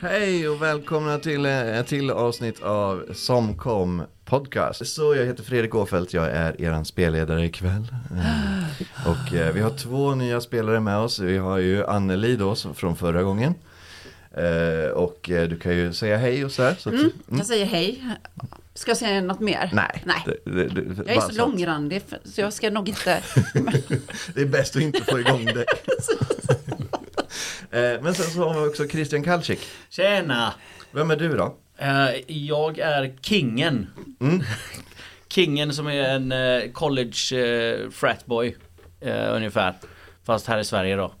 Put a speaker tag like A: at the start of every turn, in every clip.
A: Hej och välkomna till eh, ett till avsnitt av Somkom Podcast. Så jag heter Fredrik Åfeldt, jag är eran spelledare ikväll. Eh, Och eh, vi har två nya spelare med oss. Vi har ju Anneli då som- från förra gången. Eh, Och eh, du kan ju säga hej och så här. Så att,
B: Jag säger hej. Ska jag säga något mer?
A: Mm. Nej,
B: Nej.
A: Det, det, det,
B: Jag är
A: bara
B: så långrandig för- så jag ska nog inte...
A: Det är bäst att inte få igång det. Eh, Men sen så har vi också Christian Kalcik.
C: Tjena!
A: Vem är du då?
C: Eh, jag är kingen. kingen som är en eh, college eh, fratboy. eh, ungefär. Fast här i Sverige då.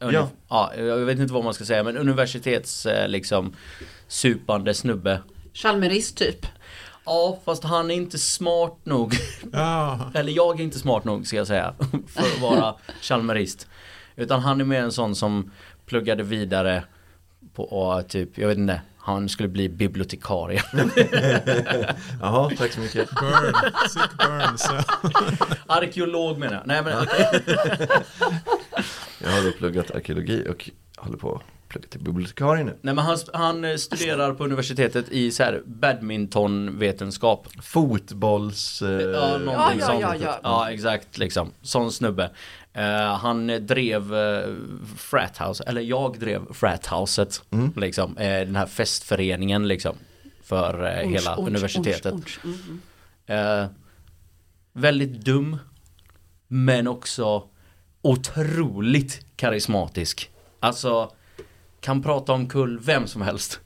C: Ungef-
A: Ja.
C: ja. Jag vet inte vad man ska säga men universitets eh, liksom supande snubbe.
B: Chalmerist typ.
C: Ja fast han är inte smart nog.
D: Ja.
C: Eller jag är inte smart nog ska jag säga. För att vara chalmerist. Utan han är mer en sån som pluggade vidare på ja, typ, jag vet inte. Han skulle bli bibliotekarie.
A: Jaha, tack så mycket.
D: Burn, sick burn. Så.
C: Arkeolog menar jag. Nej men okej.
A: Jag har då pluggat arkeologi och håller på att plugga till bibliotekarie nu.
C: Nej men han, han eh, studerar på universitetet i så här badmintonvetenskap.
A: Fotbolls... eh,
C: Ja, någonting
B: Ja, ja,
C: sånt.
B: ja, ja.
C: ja, exakt liksom. Sån snubbe. Eh, han drev uh, frathouse, eller jag drev frathouset.
B: Mm.
C: Liksom, eh, den här festföreningen liksom. För eh,
B: Orts,
C: hela
B: orts,
C: universitetet.
B: orts, orts. Mm, mm.
C: Eh, väldigt dum. Men också otroligt karismatisk. Alltså, kan prata om kull vem som helst.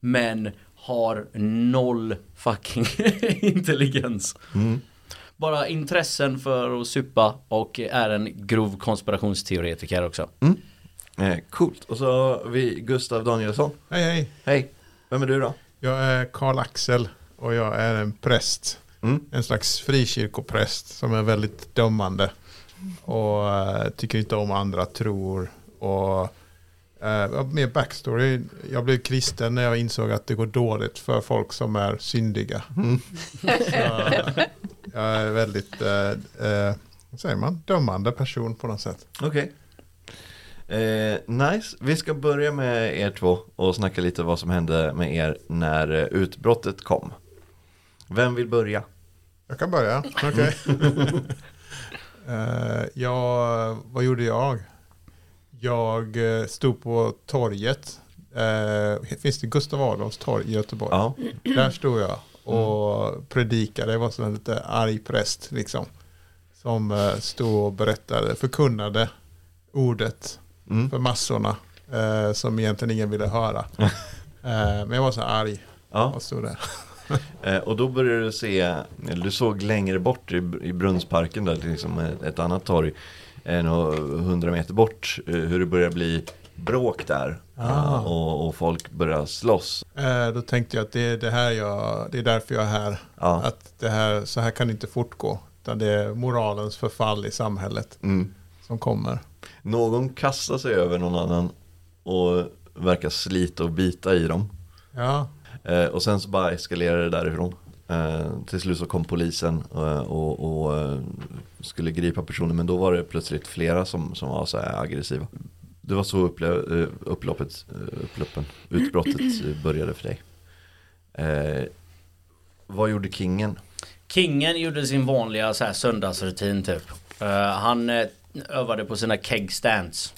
C: Men har noll fucking intelligens. Bara intressen för att supa och är en grov konspirationsteoretiker också.
A: Eh, coolt. Och så har vi Gustav Danielsson.
D: Hej, hej.
A: Hej. Vem är du då?
D: Jag är Karl-Axel och jag är en präst.
A: Mm.
D: En slags frikyrkopräst som är väldigt dömande. Och eh, tycker inte om andra tror. Och eh, mer backstory. Jag blev kristen när jag insåg att det går dåligt för folk som är syndiga. Så, eh, jag är väldigt, eh, eh, vad säger man, dömande person på något sätt.
A: Okej. Eh, nice. Vi ska börja med er två och snacka lite vad som hände med er när eh, utbrottet kom. Vem vill börja?
D: Jag kan börja. Okej. Eh, jag, vad gjorde jag? Jag eh, stod på torget. Eh, finns det Gustav Adolfs torg i Göteborg?
A: Ja. Mm.
D: Där stod jag och predikade. Jag var som en lite arg präst liksom. Som eh, stod och berättade, förkunnade ordet
A: Mm.
D: för massorna. Eh, som egentligen ingen ville höra. eh, men jag var så arg
A: ja.
D: och stod där.
A: Eh, och då började du se, eller du såg längre bort i, i Brunnsparken där, liksom ett, ett annat torg, än hundra meter bort, eh, hur det börjar bli bråk där.
D: Ah.
A: Eh, och, och folk börjar slåss.
D: Eh, Då tänkte jag att det är, det här jag, det är därför jag är här.
A: Ja.
D: Att det här, så här kan det inte fortgå. Utan det är moralens förfall i samhället
A: Mm.
D: som kommer.
A: Någon kastar sig över någon annan och verkar slita och bita i dem.
D: Ja,
A: Eh, och sen så bara eskalerar det därifrån. Eh, till slut så kom polisen eh, och, och eh, skulle gripa personen men då var det plötsligt flera som, som var så här aggressiva. Det var så upple- eh, upploppet, eh, upploppen, utbrottet eh, började för dig. Eh, vad gjorde kingen?
C: Kingen gjorde sin vanliga så här söndagsrutin typ. Eh, han eh, övade på sina keg stands.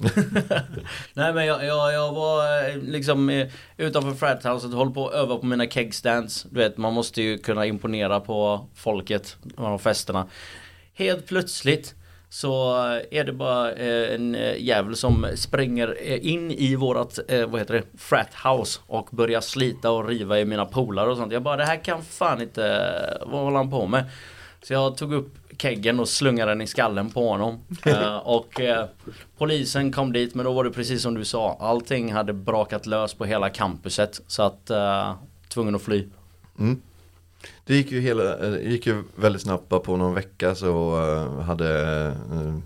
C: Nej men jag, jag, jag var eh, liksom eh, utanför frathouset och höll på att öva på mina keg stands. Du vet man måste ju kunna imponera på folket när man har festerna. Helt plötsligt så eh, är det bara eh, en eh, jävel som springer eh, in i vårat, eh, vad heter det, frat house och börjar slita och riva i mina polare och sånt. Jag bara det här kan fan inte, eh, vad håller han på med? Så jag tog upp keggen och slungade den i skallen på honom. Eh, och eh, polisen kom dit men då var det precis som du sa. Allting hade brakat lös på hela campuset så att eh, tvungen att fly.
A: Det gick ju, hela, eh, det gick ju väldigt snabbt, bara på någon vecka så eh, hade eh,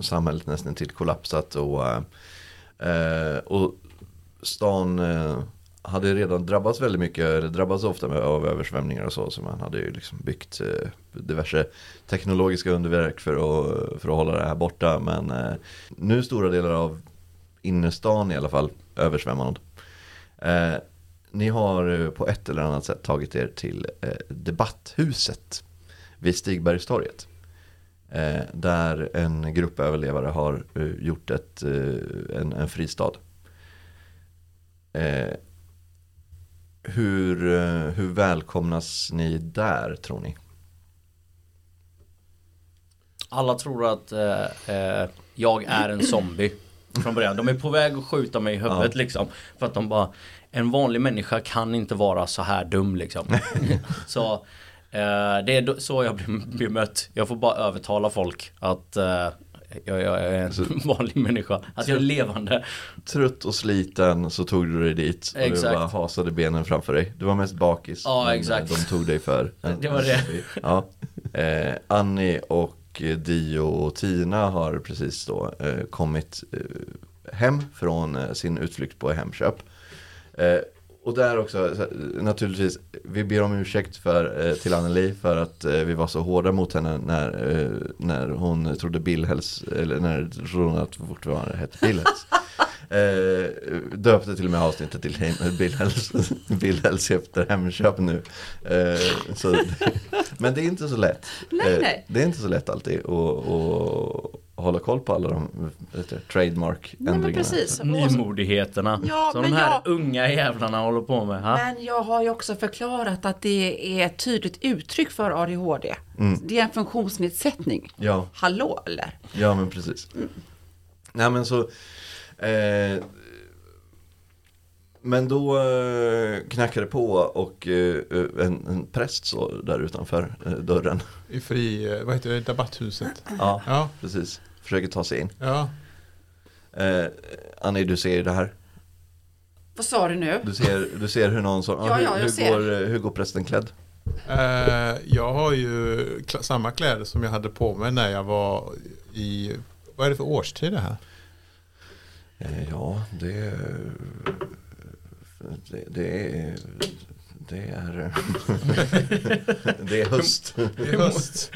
A: samhället nästan till kollapsat och, eh, eh, och stan eh, hade redan drabbats väldigt mycket, eller drabbats ofta med, av översvämningar och så, så man hade ju liksom byggt eh, diverse teknologiska underverk för att, för att hålla det här borta, men eh, nu är stora delar av innerstan i alla fall översvämmad. Eh, ni har eh, på ett eller annat sätt tagit er till eh, debatthuset vid Stigbergstorget. Eh, där en grupp överlevare har eh, gjort ett, eh, en, en fristad. Eh, hur, eh, hur välkomnas ni där tror ni?
C: Alla tror att eh, eh, jag är en zombie från början. De är på väg att skjuta mig i huvudet liksom. För att de bara, en vanlig människa kan inte vara så här dum liksom. så eh, det är då- så jag blir bemött. Jag får bara övertala folk att eh, jag, jag är en vanlig människa. Att jag är levande.
A: Trött och sliten så tog du dig dit och
C: Exakt.
A: du bara hasade benen framför dig. Du var mest bakis.
C: Ja,
A: men, eh,
C: exakt.
A: De tog dig för. en-
C: Det var det.
A: Ja. Eh, Annie och eh, Dio och Tina har precis då eh, kommit eh, hem från eh, sin utflykt på Hemköp. Eh, och där också, så, eh, naturligtvis, vi ber om ursäkt för, eh, till Anneli för att eh, vi var så hårda mot henne när, eh, när hon trodde Billhälls, eller när trodde hon att fortfarande hette Billhälls. Eh, döpte till och med avsnittet till Hem- Billhälls, Billhälls efter Hemköp nu. Eh, så, men det är inte så lätt.
B: Nej,
A: Eh,
B: nej.
A: Det är inte så lätt alltid att, att hålla koll på alla de vad heter det, trademark-ändringarna.
B: Nej men precis. Och-
C: Nymodigheterna
B: Ja,
C: som
B: men
C: de här
B: jag-
C: unga jävlarna håller på med. Ha?
B: Men jag har ju också förklarat att det är ett tydligt uttryck för ADHD.
A: Mm.
B: Det är en funktionsnedsättning.
A: Ja.
B: Hallå eller?
A: Ja men precis. Nej men så. Eh, men då eh, knackade det på och eh, en, en präst så där utanför eh, dörren.
D: I fri, eh, vad heter det, debatthuset.
A: Ja,
D: Ja,
A: precis. Försöker ta sig in.
D: ja.
A: Eh, Annie du ser ju det här.
B: Vad sa du nu?
A: Du ser, du ser hur någon som,
B: Ja,
A: hur,
B: ja, jag
A: hur,
B: ser.
A: Går, eh, hur går prästen klädd?
D: Eh, jag har ju kla- samma kläder som jag hade på mig när jag var i, vad är det för årstid det här?
A: Eh, ja det, det, det är, det är, det är höst.
D: Det är höst.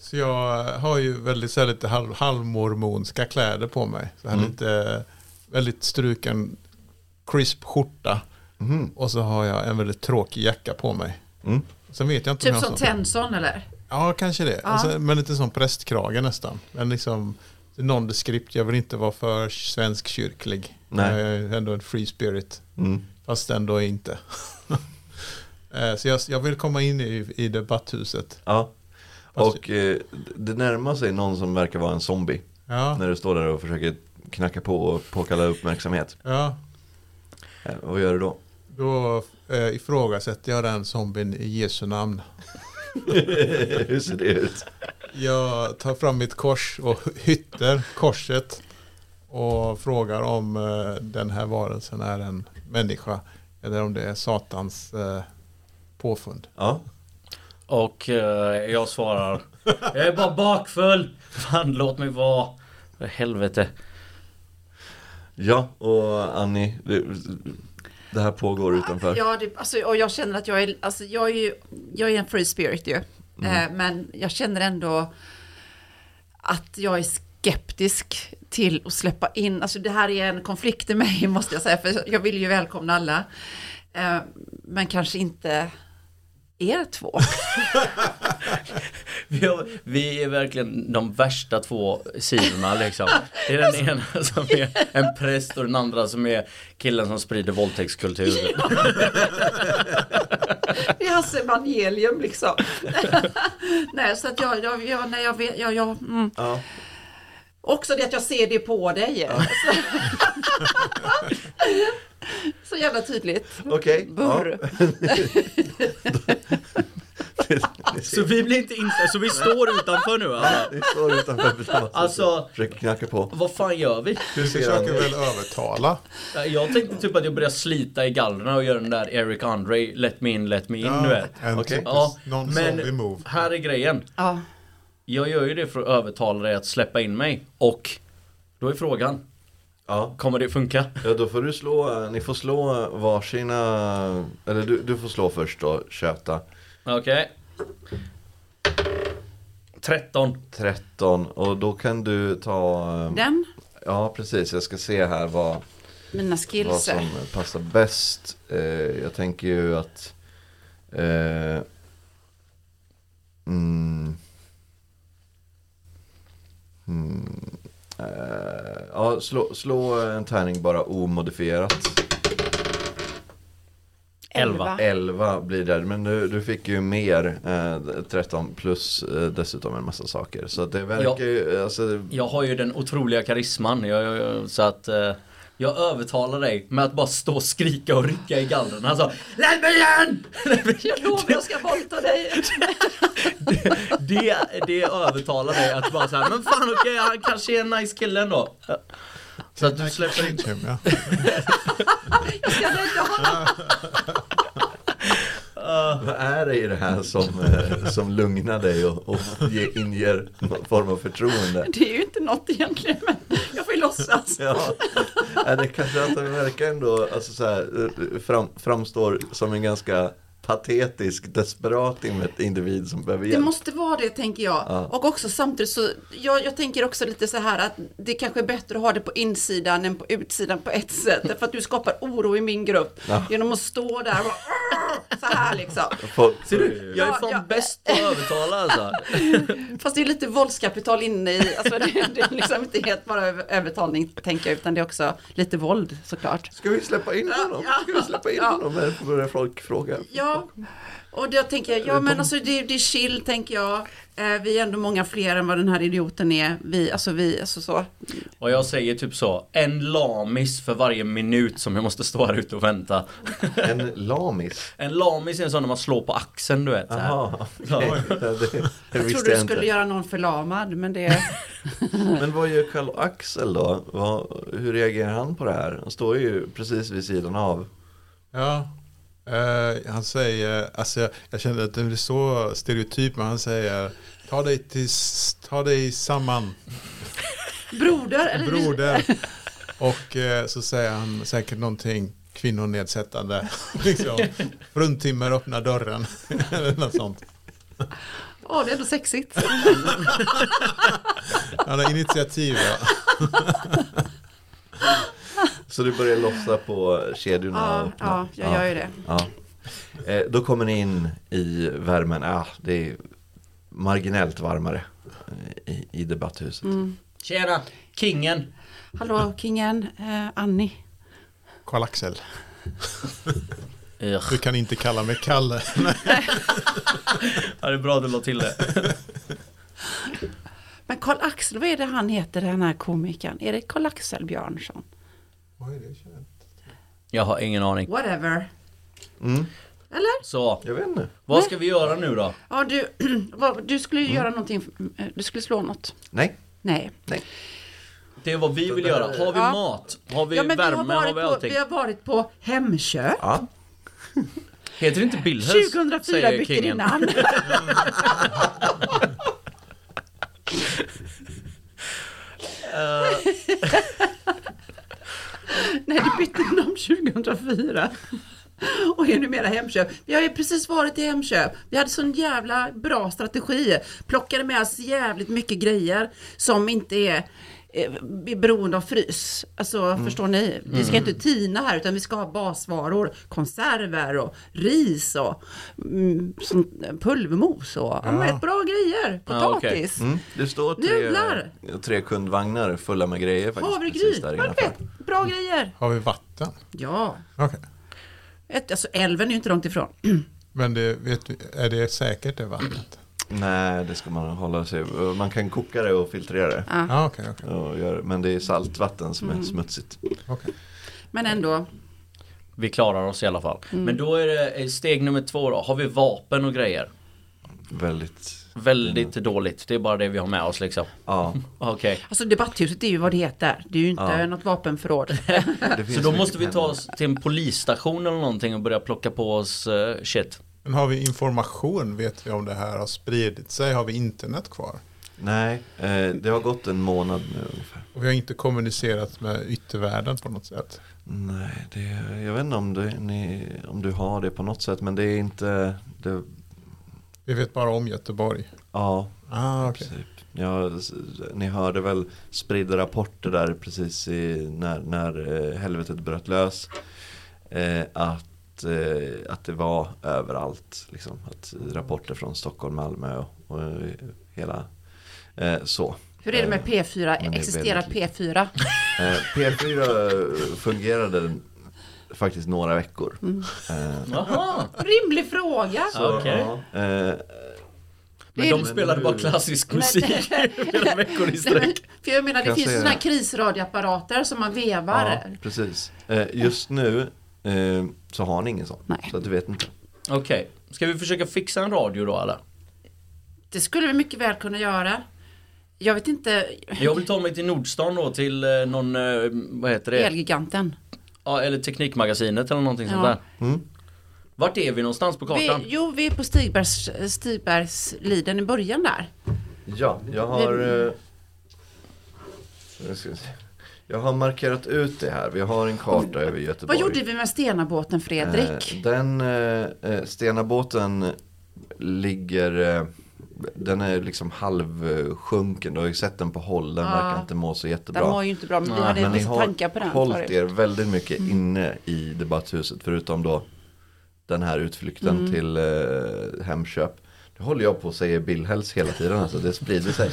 D: Så jag har ju väldigt så här, lite halv, halvmormonska kläder på mig. Så här
A: Mm.
D: lite, väldigt struken, crisp skjorta.
A: Mhm.
D: Och så har jag en väldigt tråkig jacka på mig.
A: Mm.
D: Sen vet jag inte
B: Typ
D: jag
B: som
D: har sån-
B: Tenson eller?
D: Ja, kanske det.
B: Ja.
D: Och sen, men lite som prästkrage nästan. Men liksom nondescript. Jag vill inte vara för svensk kyrklig.
A: Nej.
D: Jag är ändå en free spirit.
A: Mm.
D: Fast ändå inte. Eh, så jag, jag vill komma in i, i debatthuset.
A: Ja.
D: Fast-
A: Och eh, det närmar sig någon som verkar vara en zombie.
D: Ja,
A: När du står där och försöker knacka på och påkalla uppmärksamhet.
D: ja.
A: Eh, vad gör du då?
D: Då eh, ifrågasätter jag den zombien i Jesu namn.
A: Hur ser det ut?
D: Jag tar fram mitt kors och hytter korset och frågar om eh, den här varelsen är en människa eller om det är Satans eh, påfund.
A: Ja.
C: Och eh, jag svarar Jag är bara bakfull! Fan låt mig vara! För helvete.
A: ja, och Annie, det, det här pågår utanför.
B: Ja, det, alltså, och jag känner att jag är, alltså, jag är ju, jag är en free spirit ju. Eh, men jag känner ändå att jag är skeptisk till att släppa in, alltså det här är en konflikt i mig måste jag säga, för jag vill ju välkomna alla. Eh, men kanske inte er två.
C: Vi, har, vi är verkligen de värsta två sidorna liksom. Det är den ena som är en präst och den andra som är killen som sprider våldtäktskultur.
B: Det är hans evangelium liksom. Nej, så att jag, jag, jag, nej, jag vet, jag, jag, mm.
A: Ja.
B: Också det att jag ser det på dig. Så, så jävla tydligt.
A: Okej.
B: Burr.
A: Ja. Ni
C: Så
A: ser-
C: vi blir inte inställda, så vi står utanför nu alltså? alla.
A: Ni står utanför tillsammans.
C: Alltså-
A: Försöker knacka på.
C: Vad fan gör vi?
D: Du försöker väl övertala?
C: Jag tänkte typ att jag börjar slita i gallren och göra den där Eric Andre, let me in, let me in, du vet.
D: en
A: Okej.
D: typisk
C: Ja,
D: någon zombie
C: men
D: move.
C: här är grejen.
B: Ja.
C: Jag gör ju det för att övertala dig att släppa in mig och då är frågan,
A: Ja.
C: kommer det funka?
A: ja, då får du slå, ni får slå varsina, eller du, du får slå först då, köta.
C: Okej. 13.
A: 13 och då kan du ta... eh,
B: Den?
A: Ja, precis. Jag ska se här vad...
B: mina
A: vad som
B: skillser.
A: passar bäst. Eh, jag tänker ju att eh, mm, mm, eh, ja, slå, slå en tärning bara omodifierat.
C: Elva.
A: 11 blir det, men du, du fick ju mer, eh, 13 plus eh, dessutom en massa saker. Så att det verkar ju, alltså,
C: Jag har ju den otroliga karisman. Jag, jag, jag, så att eh, jag övertalar dig med att bara stå och skrika och rycka i Alltså, gallren. Han sa Lägg mig igen!
B: Jag lovar jag ska våldta dig.
C: det, det, det övertalar dig att bara såhär, men fan okej, han kanske är en nice kille ändå. Så att du släpper in.
D: Change him, ja.
B: Jag ska rädda honom.
A: vad är det i det här som, eh, som lugnar dig och, och ge, inger någon form av förtroende?
B: Det är ju inte något egentligen, men jag får ju låtsas.
A: Ja, Ja, det kanske att han verkar ändå, alltså så här, eh, fram, framstår som en ganska patetisk, desperat in- individ som behöver
B: Det
A: hjälp.
B: måste vara det tänker jag.
A: Ja.
B: Och också samtidigt så, jag, jag tänker också lite så här att det kanske är bättre att ha det på insidan än på utsidan på ett sätt. För att du skapar oro i min grupp
A: Ja.
B: genom att stå där och bara, så här liksom.
A: Folk-
C: Ser du, jag är
B: Ja,
C: fan
B: ja.
C: bäst på att övertala alltså.
B: Fast det är lite våldskapital inne i, alltså det, det är liksom inte helt bara över- övertalning tänker jag, utan det är också lite våld såklart.
A: Ska vi släppa in honom? Ska vi släppa in
B: Ja.
A: honom? Eller börjar folk fråga?
B: Ja, och då tänker jag, ja men alltså det, det är chill tänker jag. Eh, vi är ändå många fler än vad den här idioten är. Vi, alltså vi, alltså så.
C: Och jag säger typ så, en lamis för varje minut som jag måste stå här ute och vänta.
A: En lamis?
C: En lamis är en sån när man slår på axeln du vet. så här.
A: Jaha, okej. Ja, det, det
B: Jag
A: visste
B: trodde du
A: jag
B: skulle
A: inte.
B: göra någon förlamad, men det...
A: Men vad gör Karl Axel då? Vad, hur reagerar han på det här? Han står ju precis vid sidan av.
D: Ja. Eh, han säger, alltså jag, jag kände att det blir så stereotyp, men han säger ta dig, till, s- ta dig samman,
B: Broder, eller...
D: broder. Och eh, så säger han säkert någonting kvinnonedsättande. liksom. Fruntimmer öppna dörren. Eller något sånt.
B: Åh, det är ändå sexigt.
D: Han har initiativ. Ja.
A: Så du börjar lossa på kedjorna? och
B: Ja,
A: öppna.
B: ja, jag gör ju det.
A: Ja. Eh, då kommer ni in i värmen. Ah, det är marginellt varmare eh, i, i debatthuset.
C: Tjena, kingen.
B: Hallå, kingen, eh, Annie.
D: Karl-Axel,
C: Ugh.
D: du kan inte kalla mig Kalle.
C: Ja, det är bra att du la till det.
B: Men Karl Axel, vad är det han heter, den här komikern? Är det Karl Axel Björnsson?
C: Jag har ingen aning.
B: Whatever.
A: Mm.
B: Eller?
C: Så,
A: Jag vet inte.
C: vad ska vi göra nu då?
B: Ja, du, vad- du skulle ju göra någonting, eh, du skulle slå något.
A: Nej.
B: Nej.
C: Det är vad vi vill göra. Har vi
B: Ja.
C: mat? Har vi
B: ja, men
C: värme?
B: vi,
C: Har,
B: har varit
C: vi
B: på,
C: allting?
B: vi har varit på Hemköp.
A: Ja.
C: Heter det inte Billhös?
B: 2004
C: säger
B: bytte det
C: kingen.
B: namn. Nej, det bytte namn 2004. Och är numera Hemköp. Vi har ju precis varit i Hemköp. Vi hade sån jävla bra strategi. Plockade med oss jävligt mycket grejer som inte är eh, är beroende av frys. Alltså förstår ni? Vi ska inte tina här utan vi ska ha basvaror, konserver och ris och mm, sånt- pulvermos och ja. men rätt bra grejer.
C: Ja, okej.
B: Potatis,
A: Mm. Det står
B: Nudlar.
A: tre, tre kundvagnar fulla med grejer faktiskt.
B: havregryn,
A: precis där
B: Man
A: innanför.
B: vet, bra grejer.
D: Har vi vatten?
B: Ja,
D: Okej.
B: Ett, alltså älven är ju inte långt ifrån.
D: Men det, vet, vi- är det säkert det vattnet?
A: Nej, det ska man hålla sig. Man kan koka det och filtrera det.
D: Ja, okej. okej,
A: Och gör, men det är saltvatten som är smutsigt.
D: okej.
B: Men ändå,
C: Vi klarar oss i alla fall.
B: Mm.
C: Men då är det eh, steg nummer två då. Har vi vapen och grejer?
A: Väldigt.
C: Väldigt
A: Mm.
C: dåligt. Det är bara det vi har med oss liksom.
A: Ja,
C: Okej.
B: alltså debatthuset är ju vad det heter. Det är ju inte
A: Ja.
B: något vapenförråd.
A: det finns
C: Så då
A: mycket
C: måste vi ta
A: pengar.
C: oss till en polisstation eller någonting och börja plocka på oss eh, shit.
D: Men har vi information? Vet vi om det här har spridit sig? Har vi internet kvar?
A: Nej, eh, det har gått en månad nu ungefär.
D: Och vi har inte kommunicerat med yttervärlden på något sätt.
A: Nej, det, jag vet inte om, det, ni, om du har det på något sätt, men det är inte... Det,
D: Vi vet bara om Göteborg.
A: ja,
D: Ah,
A: i
D: okej.
A: princip. Ja, s- ni hörde väl spridda rapporter där precis i, när, när eh, helvetet bröt lös. Eh, att, eh, att det var överallt. Liksom. Att rapporter från Stockholm, Malmö och, och eh, hela eh, så.
B: Hur är det med
A: Eh,
B: P4?
A: men det är
B: Existerar
A: väldigt lite.
B: P4?
A: Eh, P4 fungerade faktiskt några veckor. Eh,
C: Jaha!
B: Rimlig fråga!
A: så,
C: Okej.
A: ja, eh,
B: Det
C: Men
B: är-
C: de spelade bara klassisk musik flera veckor i
B: Nej,
C: sträck.
B: För jag menar,
A: Kan
B: det
A: jag
B: finns ju
A: säga
B: sådana här
A: det?
B: krisradioapparater som man vevar.
A: Ja, precis. Eh, just nu eh, så har ni ingen sån.
B: Nej.
A: Så att du vet inte.
C: Okej, ska vi försöka fixa en radio då eller?
B: Det skulle vi mycket väl kunna göra. Jag vet inte,
C: Jag vill ta mig till Nordstan då till eh, någon, eh, vad heter det?
B: Elgiganten.
C: Ja, eller Teknikmagasinet eller någonting sånt
B: Ja.
C: där. Vart är vi någonstans på
B: Vi,
C: kartan?
B: jo, vi är på Stigbergs, Stigbergsliden i början där.
A: Ja, jag har... Eh, nu ska vi se. jag har markerat ut det här. Vi har en karta över
B: Vad
A: Göteborg.
B: gjorde vi med Stenabåten, Fredrik?
A: Eh, den eh, eh, Stenabåten ligger... Eh, den är liksom halvsjunken. Du har ju sett den på håll. Den
B: Ja.
A: verkar inte må så jättebra.
B: Den var ju inte bra, men vi
C: Nej,
B: hade
A: Men ni
B: vissa
A: har
B: tankar på den
A: hållit
B: förut. Mm.
A: er väldigt mycket inne i debatthuset förutom då den här utflykten
B: Mm.
A: till eh, Hemköp. Nu håller jag på att säga Billhälls hela tiden alltså, det sprider sig.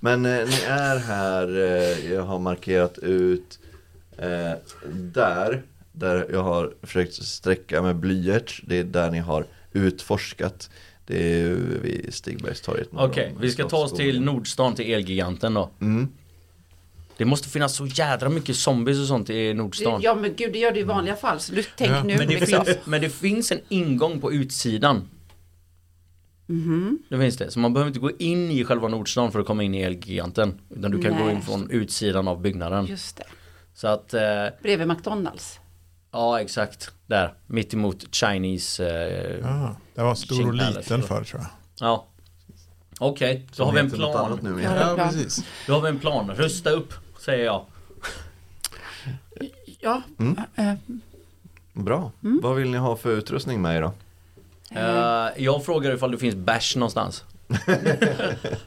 A: Men eh, ni är här, eh, jag har markerat ut eh, där, där jag har försökt sträcka med blyerts. Det är där ni har utforskat. Det är ju vid Stigbergstorget. norr om
C: Okej, vi ska ta oss till
A: Slottsskogen.
C: Nordstan till Elgiganten då.
A: Mm.
C: Det måste finnas så jädra mycket zombies och sånt i Nordstan.
B: Ja men gud, det gör det i vanliga fall. Så du tänk
D: Ja,
B: nu.
C: Men det,
B: liksom.
C: finns, men det finns en ingång på utsidan.
B: Mhm.
C: Det finns det. Så man behöver inte gå in i själva Nordstan för att komma in i Elgiganten. Utan du kan gå
B: Nej.
C: in från utsidan av byggnaden.
B: Just det.
C: Så att, eh,
B: Bredvid McDonalds.
C: ja exakt. Där, mitt emot Chinese. Eh,
D: Ja, det var stor och
C: King Palace,
D: liten
C: då.
D: förr tror jag.
C: ja. Okej, då
A: Som
C: har vi en
A: heter något annat
C: plan.
A: numera.
B: Ja, det är bra.
D: precis.
C: Då har vi en plan. Rusta upp, säger jag.
B: Ja, eh,
A: Bra.
B: Mm.
A: Vad vill ni ha för utrustning med er då?
C: Eh, jag frågar ifall det finns bärs någonstans.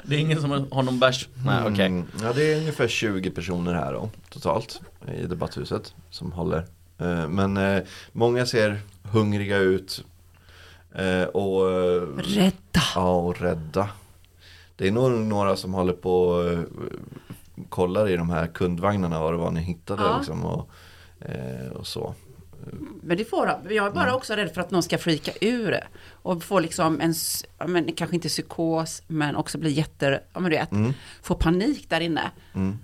C: det är ingen som har någon bärs? Nej, Ah, okej.
A: Mm, ja, det är ungefär 20 personer här då, totalt i debatthuset som håller. Eh, Men eh, många ser hungriga ut eh, och, eh,
B: rädda.
A: ja, och rädda. Det är nog några som håller på och eh, kollar i de här kundvagnarna vad det var ni hittade
B: Ja.
A: liksom, och, eh, och så.
B: Men det får de. Jag är bara också rädd för att någon ska freaka ur och få liksom en, s- ja, men kanske inte psykos, men också bli jätte, ja men du vet, få panik där inne.
A: Mm.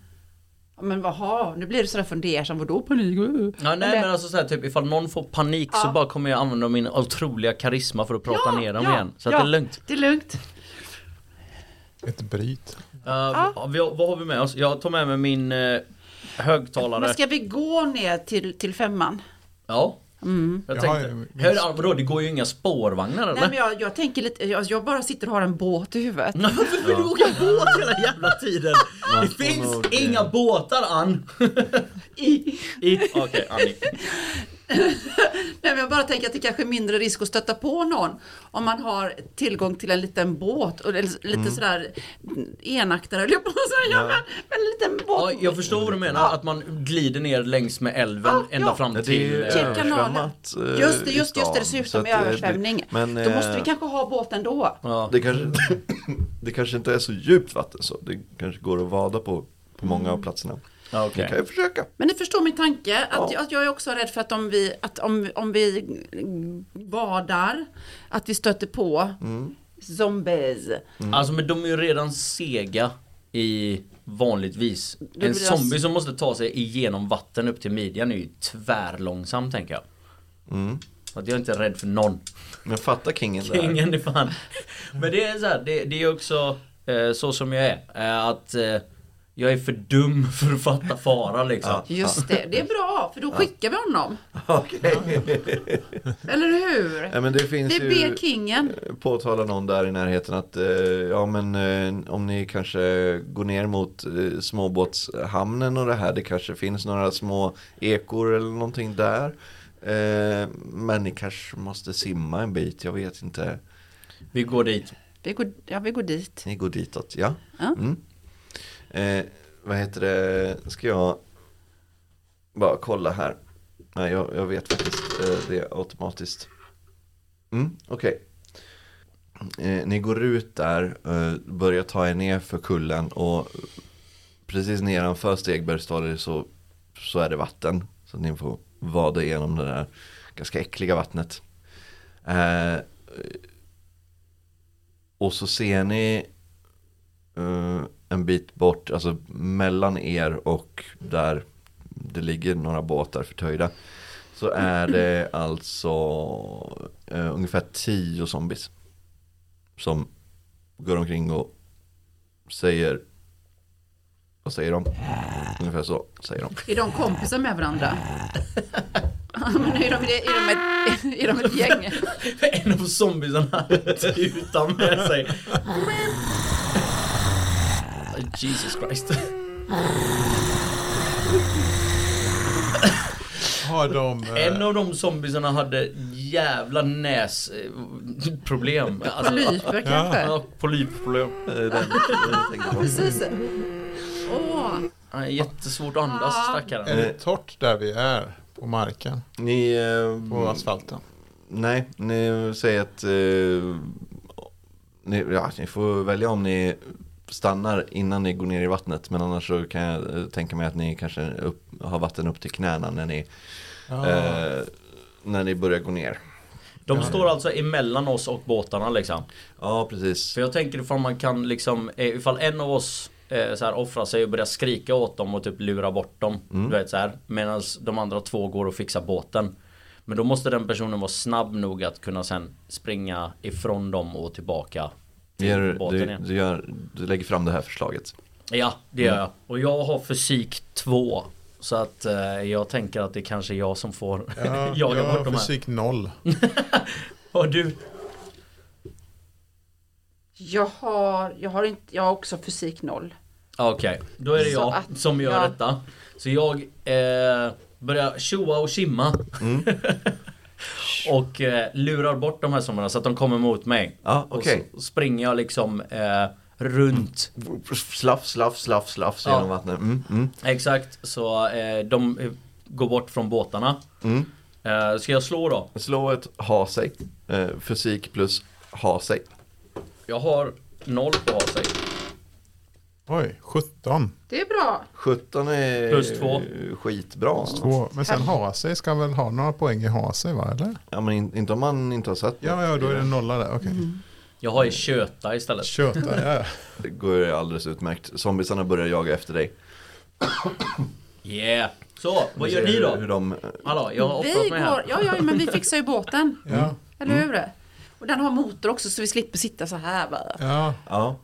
B: Ja, Men vaha, nu blir du sådär fundersam, vadå panik?
C: Ja, nej
B: Eller-
C: men alltså så här, typ ifall någon får panik så
B: Ja.
C: bara kommer jag använda min otroliga karisma för att prata
B: Ja,
C: ner dem
B: ja,
C: igen. Så
B: ja.
C: att det är lugnt.
B: Det är lugnt.
D: Ett bryt.
C: Uh, vi, har- vad har vi med oss? Jag tar med mig min eh, högtalare.
B: Men ska vi gå ner till, till femman?
C: Ja. Jag
D: Jag
C: tänkte,
D: har-
C: hör, ah, vadå, det går ju inga spårvagnar eller?
B: Nej men jag, jag tänker lite, jag, jag bara sitter och har en båt i huvudet.
C: Varför vill du åka båt hela jävla tiden? Det finns
A: nog-
C: inga båtar Ann!
B: I,
C: I- Okej Annie.
B: nej men jag bara tänker att det kanske är mindre risk att stöta på någon om man har tillgång till en liten båt och eller lite
A: Mm.
B: sådär enaktare höll jag på att säga, men, men en liten båt.
C: Ja, jag förstår vad du menar, att man glider ner längs med älven
B: Ja,
C: ända
B: ja.
C: fram
A: Ja,
C: till...
A: det är ju
C: eh,
B: Till kanalen.
A: översvämmat. eh,
B: Typ Just det,
A: i
B: just, just det,
A: stan. Så
B: dessutom
A: att,
B: i
A: eh, det-
B: översvämning.
A: men,
B: Då måste vi
A: eh,
B: kanske ha båten då.
C: ja.
A: Det kanske, det kanske inte är så djupt vatten så det kanske går att vada på, på många av platserna.
C: Ja,
A: Vi
C: okej.
A: kan ju försöka.
B: Men ni förstår min tanke, att,
A: Ja.
B: jag- att jag är också rädd för att om vi, att om, om vi badar, att vi stöter på
A: Mm.
B: zombies.
C: Alltså men de är ju redan sega i vanligtvis.
B: blir
C: En
B: det
C: zombie som måste ta sig igenom vatten upp till midjan är ju tvärlångsam tänker jag.
A: Mm.
C: Så att jag är inte rädd för någon.
A: Men fatta kingen där.
C: Ingen är fan. Men det är så här, det, det är också eh, så som jag är. Eh, att eh, jag är för dum för att fatta fara liksom.
B: Just det, det är bra, för då skickar vi honom.
A: Okej.
B: Eller hur?
A: Ja, men det finns
B: Vi
A: ju
B: ber kingen.
A: påtalar någon där i närheten att eh, ja men eh, om ni kanske går ner mot eh, småbåtshamnen och det här det kanske finns några små ekor eller någonting där. Eh, men ni kanske måste simma en bit, jag vet inte.
C: Vi går dit.
B: Vi går, ja, vi går dit.
A: Ni går ditåt, ja.
B: Ja.
A: Mm. Eh, vad heter det, ska jag bara kolla här. Nej, jag, jag vet faktiskt eh, det automatiskt. Mm, Okej. Eh, ni går ut där, eh, börjar ta er ner för kullen och precis nedanför Stegbergstorget så, så är det vatten. Så ni får vada igenom det där ganska äckliga vattnet. Eh, och så ser ni eh, en bit bort, alltså mellan er och där det ligger några båtar förtöjda. Så är det alltså eh, ungefär tio zombies. Som går omkring och säger Vad säger de? Ungefär så säger de.
B: Är de kompisar med varandra? Ja, Men är, de, är, de ett, är de ett gäng?
C: En av zombiesarna utan med sig. Jesus Christ.
D: Har de... eh,
C: En av de zombiesarna hade jävla näsproblem.
B: Polyper kanske?
C: Alltså, ja, polypproblem.
A: Eh, den- den tänker jag på.
B: Precis. Åh,
C: Han är jättesvårt att andas
D: Är
C: stackaren.
D: det torrt där vi är? På marken?
A: Ni, eh,
D: På asfalten?
A: nej, ni säger att eh, ni, ja, ni får välja om ni stannar innan ni går ner i vattnet. Men annars så kan jag eh, tänka mig att ni kanske upp, har vatten upp till knäna när ni,
D: Ah.
A: eh, när ni börjar gå ner.
C: De står alltså emellan oss och båtarna liksom.
A: Ja, precis.
C: För jag tänker ifall man kan liksom, eh, ifall en av oss eh, så här, offrar sig och börjar skrika åt dem och typ lura bort dem. Du vet så här. Medan de andra två går och fixar båten. Men då måste den personen vara snabb nog att kunna sen springa ifrån dem och tillbaka
A: Du,
C: till
A: gör,
C: båten
A: du,
C: igen.
A: du, gör, du lägger fram det här förslaget.
C: Ja, det gör jag. Och jag har fysik 2. Så att eh, jag tänker att det kanske är jag som får
D: Ja,
C: jaga
D: jag
C: bort
D: har
C: de här.
D: fysik noll.
C: Och du?
B: jag har, jag har inte, jag har också fysik noll.
C: Okej, då är det
B: Så
C: jag
B: att-
C: som gör
B: ja.
C: detta. Så jag eh, börjar tjoa och tjimma.
A: Mm.
C: och eh, lurar bort de här somrarna så att de kommer mot mig.
A: Ja, okej.
C: Och så springer jag liksom eh, runt.
A: Slaff, slaff, slaff, slaff
C: Ja.
A: genom vattnet. Mm, mm.
C: Exakt, så eh, de eh, går bort från båtarna.
A: Mm.
C: Eh, ska jag slå då?
A: Slå ett ha sig. Eh, fysik plus ha sig.
C: Jag har noll på av sig.
D: Oj, 17.
B: Det är bra.
A: 17 är
C: Plus två.
A: skitbra.
D: Två. Men sen ha sig ska väl ha några poäng i ha sig va? Eller?
A: Ja, men in, inte om man inte har sett
D: Ja, ja, då är det nolla där. Okej.
B: Mm.
C: Jag har i köta istället.
D: Köta, ja.
A: det. går ju alldeles utmärkt. Zombisarna börjar jaga efter dig.
C: Yeah! Så, vad
A: Vi
C: gör
A: ser
C: ni
A: hur-
C: då?
A: Hur de,
C: Hallå, jag har
B: Vi
C: offrat mig
B: går,
C: här.
B: ja, ja, men vi fixar ju båten.
D: ja.
B: Eller hur? Och den har motor också så vi slipper sitta så här bara.
D: ja.
A: ja,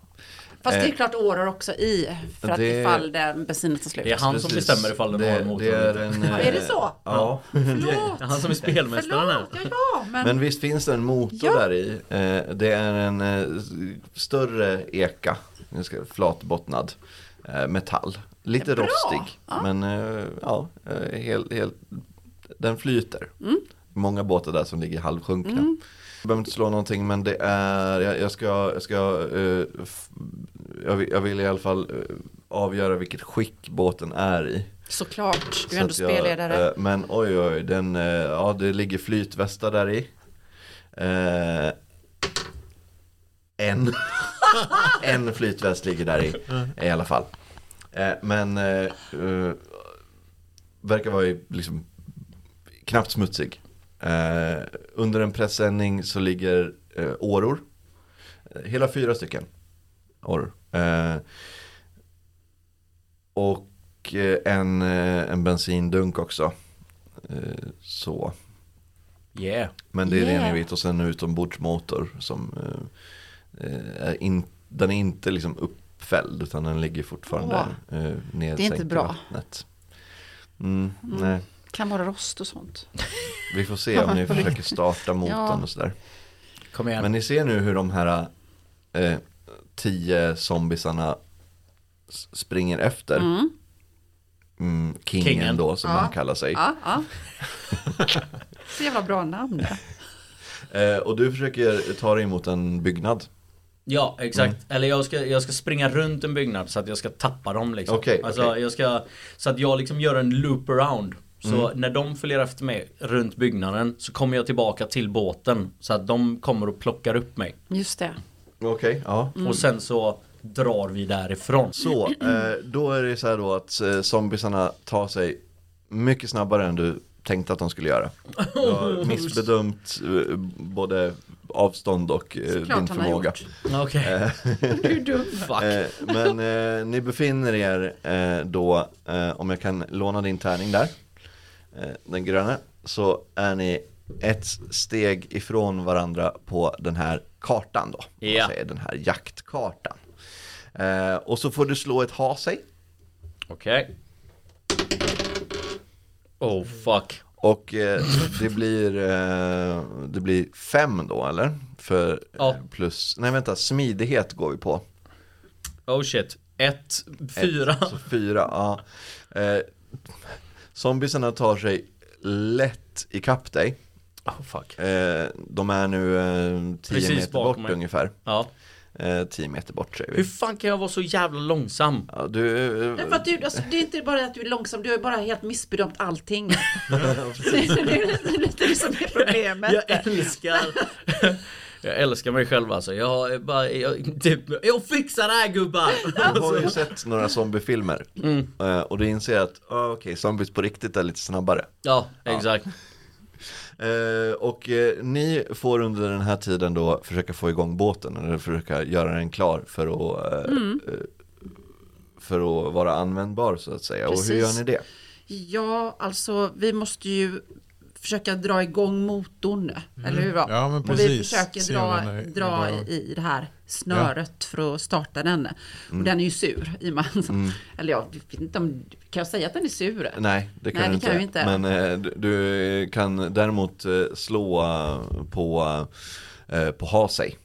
B: Fast det är
A: Eh,
B: klart årar också i för att
A: det-
B: ifall den bensinen tar slut.
C: Det är han som
A: precis.
C: bestämmer ifall den
A: det,
C: har en motor
A: det
C: eller
A: är,
C: inte.
A: en,
B: Ja, är det
A: eh,
B: så?
A: Ja.
B: Förlåt!
C: Det är Han som är spelmästaren här.
B: Förlåt, ja, ja, men,
A: Men visst finns det en motor
B: Ja.
A: där i. Eh, Det är en eh, s- större eka, den ska- flatbottnad eh, metall. Lite
B: Bra.
A: rostig, men eh, ja, eh, helt, helt, den flyter.
B: Mm.
A: Många båtar där som ligger halvsjunkna. Jag behöver inte slå någonting men det är, jag, jag ska, jag ska, eh, f- jag, vill, jag vill i alla fall eh, avgöra vilket skick båten är i.
B: såklart, du är
A: Så
B: ändå
A: att jag,
B: spelledare.
A: eh, men oj oj, den, eh, ja, det ligger flytvästar där i. Eh, en. en flytväst ligger där i, i alla fall. Eh, men eh, eh, verkar vara i, liksom, knappt smutsig. Eh, under en pressändning så ligger eh, åror. Eh, Hela fyra stycken åror. Eh, och och eh, en, eh, en bensindunk också. Eh, Så.
C: Yeah.
A: Men det är
B: Yeah.
A: yeah. renvit och sen utombordsmotor som eh, eh, är in, den är inte liksom uppfälld utan den ligger fortfarande oh. nedsänkt
B: bra.
A: i vattnet. Mm, Nej.
B: Kan vara rost och sånt.
A: Vi får se om ni försöker starta motorn
B: Ja.
A: och sådär.
C: Kom igen.
A: Men ni ser nu hur de här eh, tio zombisarna s- springer efter.
B: Mm.
A: Mm, kingen,
C: Kingen.
A: då som
B: Ja.
A: han kallar sig.
B: Ja, ja. Så jävla bra namn.
A: Eh, och du försöker ta dig emot en byggnad.
C: Ja, exakt. Eller jag ska, jag ska springa runt en byggnad så att jag ska tappa dem liksom.
A: Okej,
C: alltså,
A: okej.
C: jag ska, så att jag liksom gör en loop around. Så
A: Mm.
C: när de följer efter mig runt byggnaden så kommer jag tillbaka till båten. Så att de kommer och plockar upp mig.
B: Just det.
A: Okej, ja.
C: Och sen så drar vi därifrån.
A: Så, eh, då är det så här då att eh, zombiesarna tar sig mycket snabbare än du tänkte att de skulle göra. Du har missbedömt eh, både avstånd och eh,
B: Såklart
A: din
B: han har
A: förmåga.
B: gjort.
C: Okej.
B: Du är dum.
C: Fuck.
A: Eh, men eh, ni befinner er eh, då, eh, om jag kan låna din tärning där, eh, den gröna, så är ni ett steg ifrån varandra på den här kartan då. om man
C: Ja.
A: Säger, den här jaktkartan. Eh, och så får du slå ett ha sig.
C: Okej. Oh fuck.
A: Och eh, det, blir, eh, det blir fem då eller? För eh,
C: Ja.
A: plus, nej vänta, smidighet går vi på.
C: Oh shit. Ett, fyra.
A: Så fyra, ja. Eh, zombiesarna tar sig lätt ikapp dig.
C: Oh fuck.
A: Eh, de är nu eh, tio
C: Precis
A: meter
C: bakom
A: bort
C: mig.
A: ungefär.
C: Ja.
A: Eh, tio meter bort säger
C: Hur
A: vi.
C: fan kan jag vara så jävla långsam?
A: Ja, du, eh,
B: För att du, alltså, det är inte bara att du är långsam, du har ju bara helt missbedömt allting. det är lite- lite det som är problemet.
C: Jag älskar Jag älskar mig själv alltså. Jag är bara, jag, typ, jag fixar det här gubbar!
A: du har ju sett några zombiefilmer.
C: Mm.
A: Eh, och du inser att, ah, okej, zombies på riktigt är lite snabbare.
C: Ja, exakt.
A: Eh, och eh, ni får under den här tiden då försöka få igång båten eller försöka göra den klar för att, eh,
B: Mm.
A: eh, för att vara användbar så att säga. Och hur
B: Precis.
A: gör ni det?
B: Ja, alltså vi måste ju försöka dra igång motorn, eller hur? va?
D: Mm. Ja, men
B: Och vi
D: precis.
B: försöker
D: Se
B: dra,
D: om den är-
B: dra i det här snöret för att starta den.
D: Mm.
B: Och den är ju sur i och med att- Eller jag vet inte om, kan jag säga att den är sur?
A: Nej, det kan du
B: Nej, det
A: inte.
B: kan jag inte.
A: Men eh, du- du kan däremot eh, slå eh, på, eh, på ha sig.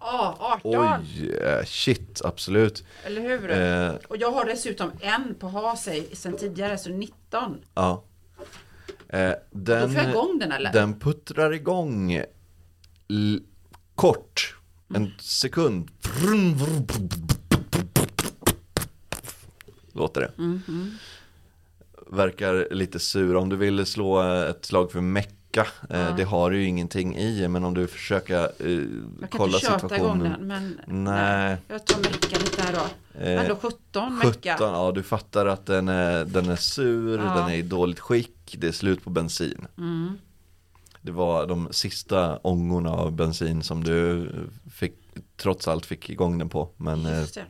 B: Ja, 18,
A: Oj, eh, shit, absolut.
B: eller hur?
A: Eh,
B: Och jag har dessutom en på ha sig sen tidigare, så 19.
A: ja. Eh, den,
B: Då får jag igång den, eller?
A: Den puttrar igång l- kort, en sekund. Vrum, vrum, vrum, vrum, vrum, vrum, vrum. Låter det.
B: Mhm.
A: Verkar lite sur. Om du vill slå eh, ett slag för mecka, eh, det har du ju ingenting i, men om du försöker eh,
B: Jag kan
A: kolla
B: inte köta igång
A: situationen.
B: den, men
A: Nej.
B: jag tar mecka lite här då.
A: Eh,
B: Men då 17 mecka.
A: 17, ja du fattar att den är, den är sur,
B: Ja. Mm.
A: den är i dåligt skick, det är slut på bensin. Det var de sista ångorna av bensin som du fick, trots allt fick igång den på. Men eh,
B: Just det.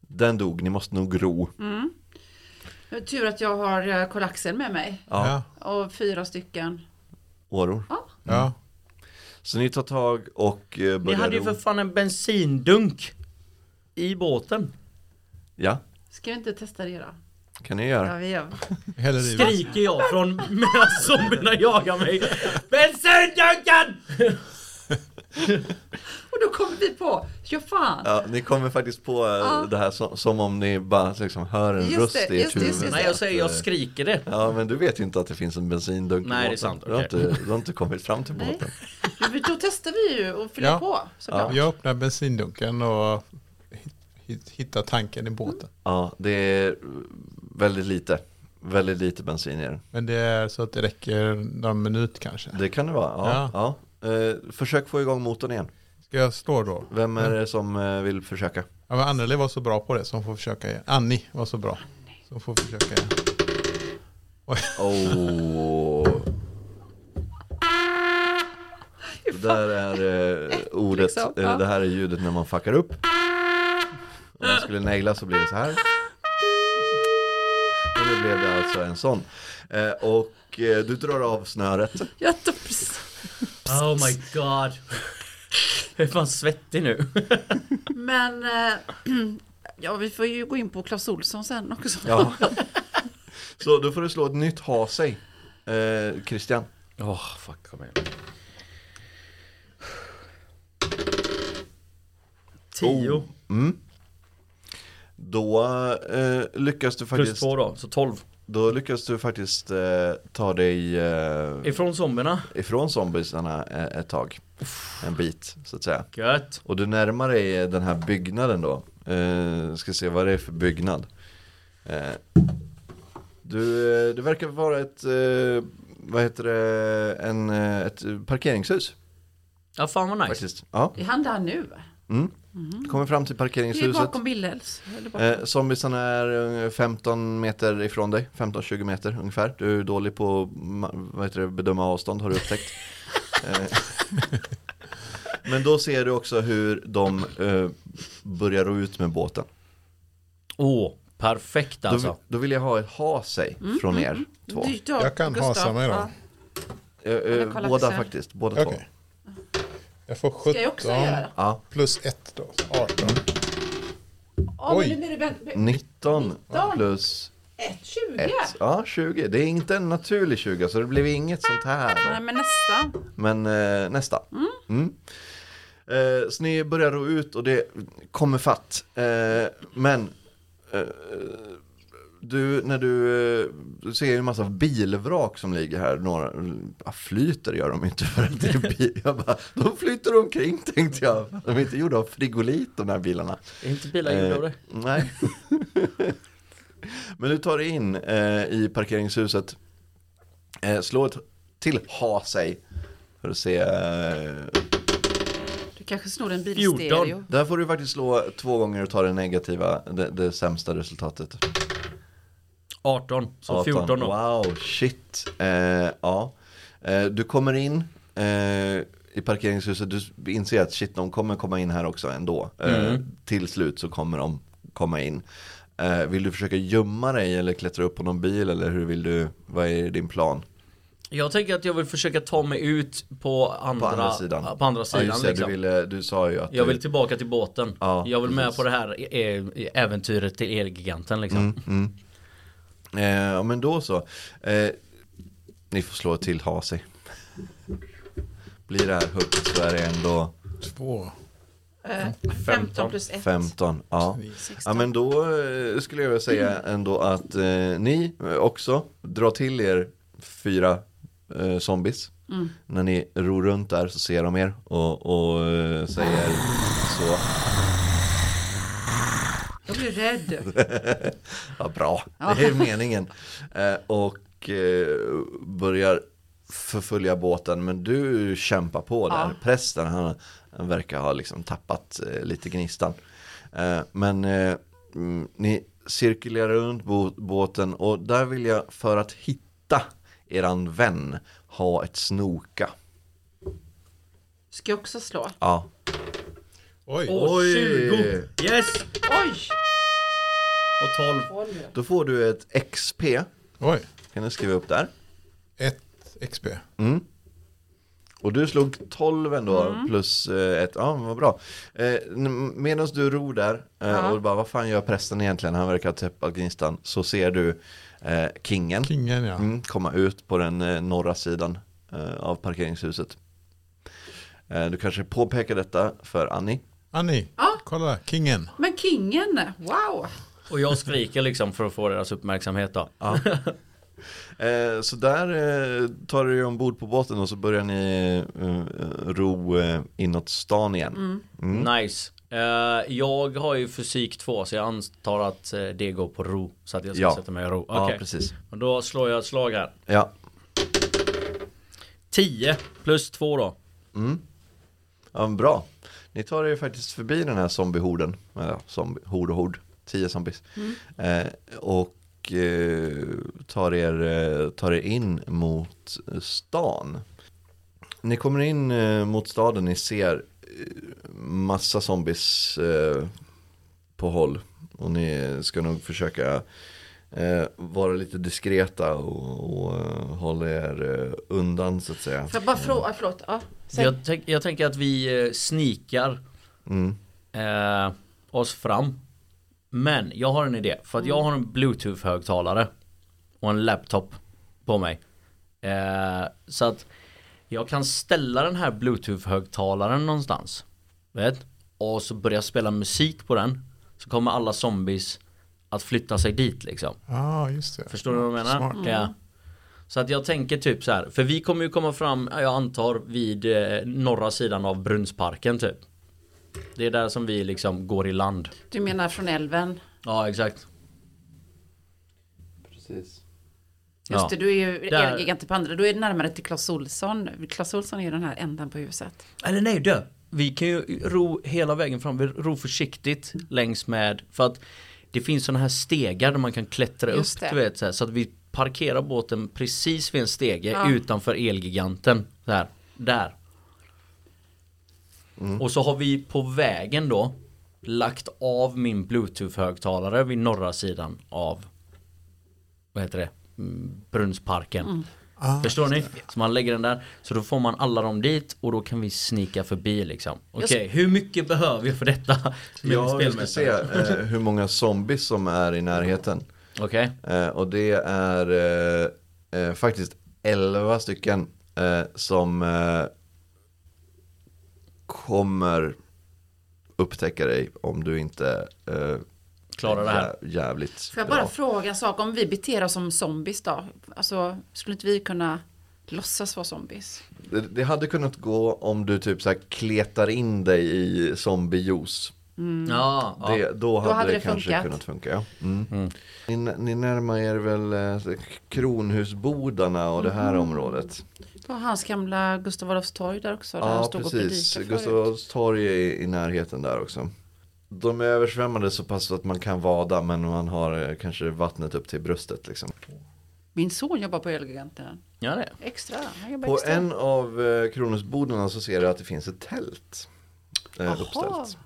A: den dog, ni måste nog ro.
B: Mm. Det är Tur att jag har eh, kollaxen med mig.
A: Ja,
D: Ja,
B: Och fyra stycken.
A: åror.
B: Ja,
D: ja.
A: Så ni tar tag och eh,
C: Ni
A: börjar
C: hade ju
A: ro.
C: för fan en bensindunk i båten.
A: Ja,
B: ska vi inte testa det då?
A: kan ni
B: Ja,
A: göra.
B: vi gör.
D: Häller i.
C: Skriker jag från medan zombierna jagar mig. Bensindunken!
B: Och då kommer vi på, ja fan.
A: Ja, ni kommer faktiskt på eh, det här som, som om ni bara liksom, hör en
B: Just
A: röst
B: det,
A: i ert
B: just det, just
A: huvud.
B: det.
C: Nej jag säger jag skriker det.
A: Ja men du vet ju inte att det finns en bensindunk i
C: Nej, det är
A: båten.
C: sant,
A: Du, har
C: okej.
A: inte, du har inte kommit fram till
B: Nej.
A: båten.
B: Ja, men Då testar vi ju och fyller
D: Ja.
B: på
D: Ja,
B: såklart.
D: jag öppnar bensindunken och hit- hit- hittar tanken i båten.
A: Ja, det är väldigt lite. Väldigt lite bensin i den.
D: Men det är så att det räcker någon minut kanske.
A: Det kan det vara. Ja, ja. Eh, försök få igång motorn igen.
D: Ska jag slå då?
A: Vem är det som eh, vill försöka?
D: Ja, men Anneli var så bra på det så hon får försöka igen. Annie var så bra. Så hon får försöka igen.
A: Oh. Det där är eh, ordet,
B: Liksom,
A: eh,
B: ja.
A: det här är ljudet när man fuckar upp. Om man skulle naila så blir det så här. Och nu blev det alltså en sån. Eh, och eh, du drar av snöret.
B: Jag tar precis.
C: Oh my god. Jag är fan svettig nu.
B: Men eh, ja, vi får ju gå in på Clas Olsson sen också.
A: Ja. Så då får du slå ett nytt ha sig. Eh, Christian.
C: Åh fuck kom igen. Tio. Oh,
A: Mm. Då eh, lyckas du
C: Plus
A: faktiskt
C: två då, så 12.
A: Då lyckas du faktiskt eh, ta dig eh,
C: Ifrån zombierna.
A: ifrån zombiesarna eh, ett tag. En bit så att säga.
C: Gött.
A: Och du närmar dig eh, den här byggnaden då. Eh, ska se vad det är för byggnad. Eh, du, eh, det verkar vara ett, eh, vad heter det, en, eh, ett parkeringshus.
C: Ja fan vad nice.
A: Faktiskt. Ja.
B: Det är han där nu va?
A: Mm. Du kommer fram till
B: Det är
A: parkeringshuset.
B: bakom Billels. eller bakom-
A: Eh, zombiesarna är eh, 15 meter ifrån dig, 15-20 meter ungefär. Du är dålig på ma- vad heter det, bedöma avstånd har du upptäckt. eh, men då ser du också hur de eh, börjar ro ut med båten.
C: Åh, perfekt alltså.
A: Då, då vill jag ha ett ha sig från er två.
B: Mm, Du, du har-
D: Jag kan
B: Gustav,
D: hasa mig då.
B: ja.
A: Eh,
B: Jag
A: eh,
B: kollar
A: båda
B: också.
A: faktiskt, båda
D: Okej.
A: två.
D: Jag får
B: Ska jag också göra?
D: 17
A: Ja,
D: plus 1 då. 18.
B: Ja,
D: Oj.
B: men nu blir det
A: Mm.
B: väl-
A: 19
B: 19.
A: plus
B: ett, 20.
A: 1. Ja, 20. Det är inte en naturlig 20 så det blev inget sånt här.
B: Nej men nästan.
A: Men eh, nästa. Mm. Eh, så ni börjar ro ut och det kommer fatt. Eh, men eh, du, när du, eh, du ser ju en massa bilvrak som ligger här. Några ja, flyter gör de inte för att det är bil. Jag bara, de flyter omkring tänkte jag. De är inte gjorda av frigolit de här bilarna.
C: Är inte bilar gjorda av det?
A: Eh, Nej. Men du tar dig in eh, i parkeringshuset. Eh, slå ett till ha sig. För att se. Eh,
B: Du kanske snor en
C: 14.
B: bilstereo.
A: där får du faktiskt slå två gånger och ta det negativa. Det, det sämsta resultatet.
C: 18, så
A: 18.
C: 14 då.
A: Wow, shit. Eh, ja. Eh, du kommer in eh, i parkeringshuset. Du inser att shit, de kommer komma in här också ändå. Eh,
C: Mm.
A: Till slut så kommer de komma in. Eh, vill du försöka gömma dig eller klättra upp på någon bil eller hur vill du, vad är din plan?
C: Jag tänker att jag vill försöka ta mig ut på andra,
A: På andra sidan.
C: ja, På andra sidan
A: ja, just det,
C: liksom.
A: du, ville, du sa ju att
C: Jag
A: du-
C: vill tillbaka till båten.
A: Ja,
C: jag vill med
A: precis.
C: på det här ä- ä- äventyret till Elgiganten liksom.
A: Mm. Eh, ja, men då så. Eh, ni får slå ett till ha sig. Blir det här högt så är det ändå
D: 2.
B: Eh, 15
C: 15.
B: plus 1.
A: 15. Ja. Ja men då eh, skulle jag vilja säga ändå att eh, ni eh, också drar till er fyra eh, zombies. När ni ror runt där så ser de er och, och eh, säger så.
B: Jag blir rädd.
A: Ja, bra, det är meningen. Eh, och eh, börjar förfölja båten men du kämpar på där.
B: Ja.
A: Prästen han, han verkar ha liksom tappat eh, lite gnistan. Eh, men eh, mm, ni cirkulerar runt bo- båten och där vill jag för att hitta eran vän ha ett snoka.
B: Ska jag också slå?
A: Ja.
D: Oj.
C: Åh,
A: Oj.
C: 20! Yes!
B: Oj!
C: Och 12.
B: Oj.
A: Då får du ett XP.
D: Oj.
A: Kan du skriva upp där?
D: 1 XP.
A: Mm. Och du slog 12 ändå plus eh, ett, ja men vad bra. Eh, Medan du ror där eh,
B: Ja.
A: och bara vad fan gör prästen egentligen, han verkar ha tappat gnistan. Så ser du eh, kingen
D: Kingen ja.
A: mm, komma ut på den eh, norra sidan eh, av parkeringshuset. Eh, du kanske påpekar detta för Annie.
D: Annie,
B: Ja.
D: kolla. Kingen.
B: Men kingen, wow!
C: Och jag skriker liksom för att få deras uppmärksamhet då.
A: Eh, så där eh, tar du dig ombord på båten och så börjar ni eh, ro eh, inåt stan igen. Mm.
C: Nice. Eh, jag har ju fysik 2 så jag antar att eh, det går på ro. Så att jag ska
A: Ja.
C: sätta mig i ro.
A: Ja,
C: Okej.
A: precis.
C: Och då slår jag ett slag här.
A: Ja,
C: 10 plus 2 då.
A: Ja, men bra. Ni tar er ju faktiskt förbi den här zombiehorden. Ja, zombie, hord och hord. Tio zombies. Eh, och eh, tar, er, eh, tar er in mot stan. Ni kommer in eh, mot staden. Ni ser eh, massa zombies eh, på håll. Och ni ska nog försöka eh, vara lite diskreta och, och eh, hålla er eh, undan så att säga.
B: Får jag bara fråga, förlåt. Ja, säg.
C: Jag, tänk, jag tänker att vi eh, sneakar
A: Mm.
C: eh, oss fram. Men jag har en idé. För att jag har en bluetooth-högtalare. Och en laptop på mig. Eh, så att jag kan ställa den här bluetooth-högtalaren någonstans. Vet? Och så börja spela musik på den. så kommer alla zombies att flytta sig dit liksom.
D: Ja, just det.
C: Förstår du vad jag menar?
D: Smart.
B: Mm.
C: Ja. Så att jag tänker typ så här, för vi kommer ju komma fram, jag antar, vid eh, norra sidan av Brunnsparken typ. Det är där som vi liksom går i land.
B: Du menar från älven?
C: Ja, exakt.
A: Precis.
B: Just
C: Ja.
B: det, du är ju
C: Där-
B: elgiganten på andra. Du är närmare till Clas Olsson. Clas Olsson är ju den här änden på huset.
C: Eller nej, dö. Vi kan ju ro hela vägen fram, vi ro försiktigt längs med, för att det finns sådana här stegar där man kan klättra
B: Just
C: upp,
B: det.
C: du vet, så, här, så att vi parkerar båten precis vid en stege
B: Ja.
C: utanför Elgiganten. Så här, där.
A: Mm.
C: Och så har vi på vägen då lagt av min bluetooth-högtalare vid norra sidan av, vad heter det, Mm, Brunnsparken.
D: Ah,
C: Förstår ni? Så man lägger den där, så då får man alla dem dit och då kan vi snika förbi liksom. Okej,
B: Jag
C: hur mycket behöver jag för detta? Med
A: Ja, vi ska se
C: spelmästaren?
A: eh, hur många zombies som är i närheten.
C: Okej,
A: Eh, och det är eh, eh, faktiskt 11 stycken eh, som eh, kommer upptäcka dig om du inte eh,
C: klarar det här.
A: jä- jävligt
B: Får jag
A: bra.
B: bara fråga en sak? Om vi beter oss som zombies då? Alltså, skulle inte vi kunna låtsas vara zombies?
A: Det, det hade kunnat gå om du typ så här kletar in dig i zombiejuice.
B: Mm.
C: Ja, ja.
A: Det, då, hade
B: hade
A: det,
B: det
A: kanske
B: funkat.
A: kunnat funka. Ja. Mm. Ni, ni närmar er väl eh, kronhusbodarna och det här
B: Mm.
A: området.
B: Det var hans gamla Gustav Adolfs torg där också. Där han
A: Ja,
B: stod
A: precis.
B: och predikade
A: Gustav
B: förut.
A: Adolfs torg är i, i närheten där också. De är översvämmade så pass att man kan vada men man har eh, kanske vattnet upp till bröstet. Liksom.
B: Min son jobbar på Elgiganten.
C: Ja, det.
B: Extra. Han jobbar
A: På
B: extra.
A: en av eh, kronhusbodarna så ser du att det finns ett tält eh,
B: Jaha.
A: uppställt.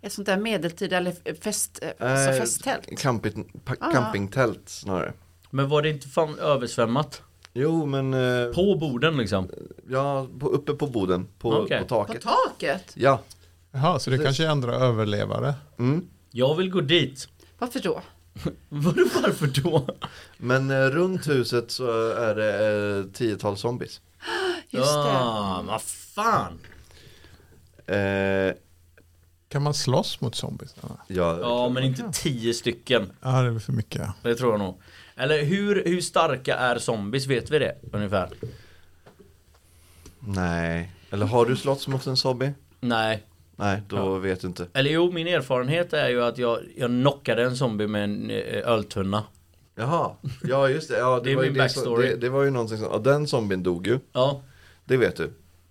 B: Ett sånt där medeltida eller fest, eh, alltså
A: Eh,
B: festtält.
A: Camping, pa-
B: Ah.
A: campingtält snarare.
C: Men var det inte fan översvämmat?
A: Jo men, eh,
C: På borden liksom?
A: ja, på, uppe på boden, på,
C: Okej.
A: på
B: På
A: taket.
B: taket?
A: Ja,
D: Jaha, så det kanske är andra överlevare.
A: mm.
C: Jag vill gå dit.
B: Varför då?
C: Vadå varför då?
A: men eh, runt huset så är det eh, tiotal zombies.
B: Just det.
C: Ah, vad fan.
A: Eh,
D: Kan man slåss mot zombies? Ja,
A: ja,
C: Ja, men inte tio stycken.
D: Ja, det är väl för mycket.
C: Det tror jag nog. Eller hur, hur starka är zombies? Vet vi det ungefär?
A: Nej, eller har du slåtts mot en zombie?
C: Nej,
A: Nej, då
C: Ja.
A: vet du inte.
C: Eller jo, min erfarenhet är ju att jag, jag knockade en zombie med en eh, öltunna.
A: Jaha, ja just det. Ja, det,
C: Det är
A: var ju
C: min
A: det som-
C: backstory.
A: Det, det var ju någonting som, ja, den zombien dog ju,
C: Ja,
A: det vet du.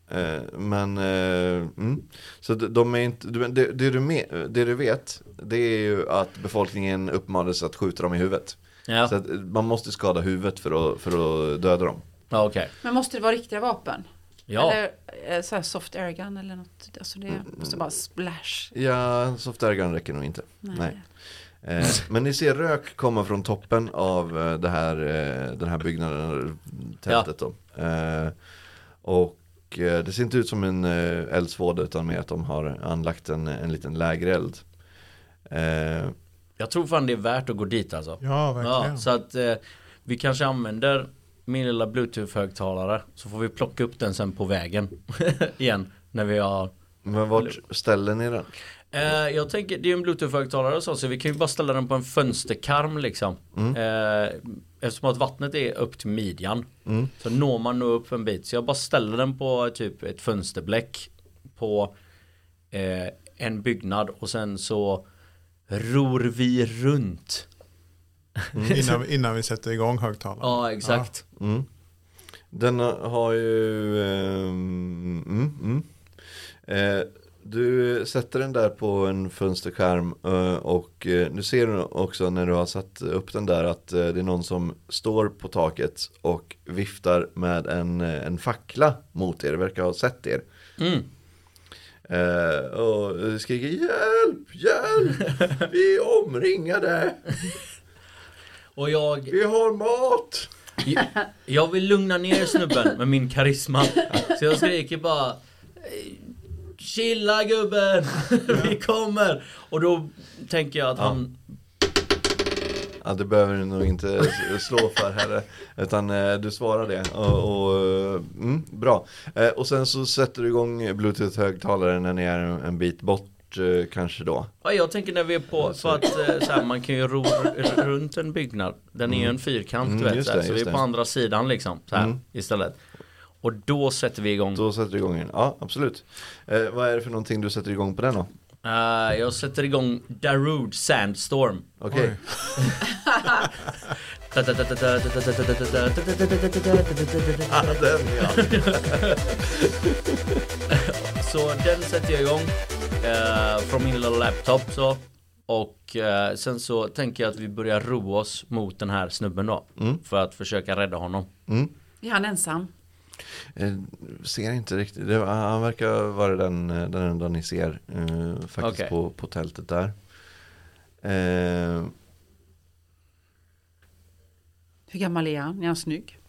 A: Eh, men, eh, mm. så de- de är inte, du- men det, det, du me- det du vet, det är ju att befolkningen uppmanades att skjuta dem i huvudet.
C: ja,
A: Så att eh, man måste skada huvudet för att, för att döda dem.
C: ja okej.
B: Men måste det vara riktiga vapen?
C: Ja,
B: Eller eh, så här soft airgun eller något. Alltså det
A: Mm.
B: måste bara splash.
A: Ja, soft airgun räcker nog inte.
B: Nej.
A: Nej. Eh, men ni ser rök komma från toppen av eh, det här, eh, den här byggnaden, tältet då. Eh, och eh, det ser inte ut som en eh, eldsvåda utan mer att de har anlagt en, en liten lägereld. Eh,
C: jag tror fan det är värt att gå dit alltså.
D: Ja,
C: Ja,
D: verkligen.
C: så att eh, vi kanske använder min lilla bluetooth-högtalare så får vi plocka upp den sen på vägen igen när vi har
A: men vart ställer ni den?
C: Eh, jag tänker, det är ju en bluetooth-högtalare och så, så vi kan ju bara ställa den på en fönsterkarm liksom. Eh, eftersom att vattnet är upp till midjan. Så når man nog upp en bit. Så jag bara ställer den på typ ett fönsterbläck på eh, en byggnad och sen så ror vi runt.
D: Innan, innan vi sätter igång högtalaren.
C: Ja, exakt.
A: Mm. Den har ju... Eh, mm, mm. Eh, du sätter den där på en fönsterskärm eh, och eh, nu ser du också när du har satt upp den där att eh, det är någon som står på taket och viftar med en, eh, en fackla mot er, verkar ha sett er.
C: Mm.
A: Eh, och eh, skriker hjälp, hjälp, vi är omringade,
C: Och jag,
A: vi har mat.
C: jag vill lugna ner snubben med min karisma. Så jag skriker bara "Eh, Chilla gubben, vi kommer! Och då tänker jag att han
A: Ja, det behöver du nog inte s- slå för heller. Utan eh, du svarar det. Och, och, eh, mm, bra. Eh, och sen så sätter du igång bluetooth-högtalaren när ni är en, en bit bort bort eh, kanske då.
C: Ja, jag tänker när vi är på, för att eh, så här, man kan ju ro r- runt en byggnad. Den är ju en fyrkant
A: Mm,
C: du vet.
A: just
C: så här,
A: det,
C: så vi
A: just
C: är på
A: det.
C: andra sidan liksom. Så här,
A: Mm.
C: Istället. Och då sätter vi igång.
A: Då sätter du igång den. Ja, absolut. Eh, vad är det för någonting du sätter igång på den då?
C: Eh, jag sätter igång Darude Sandstorm.
A: Okej.
D: Oj.
C: Så den sätter jag igång eh, från min lilla laptop så. Och eh, sen så tänker jag att vi börjar ro oss mot den här snubben då.
A: Mm,
C: För att försöka rädda honom.
B: Är han ensam?
A: Eh, ser inte riktigt. Det, han verkar vara den, eh, den enda ni ser eh, faktiskt
C: Okej.
A: på, på tältet där. Eh,
B: Hur gammal är han? Är han snygg?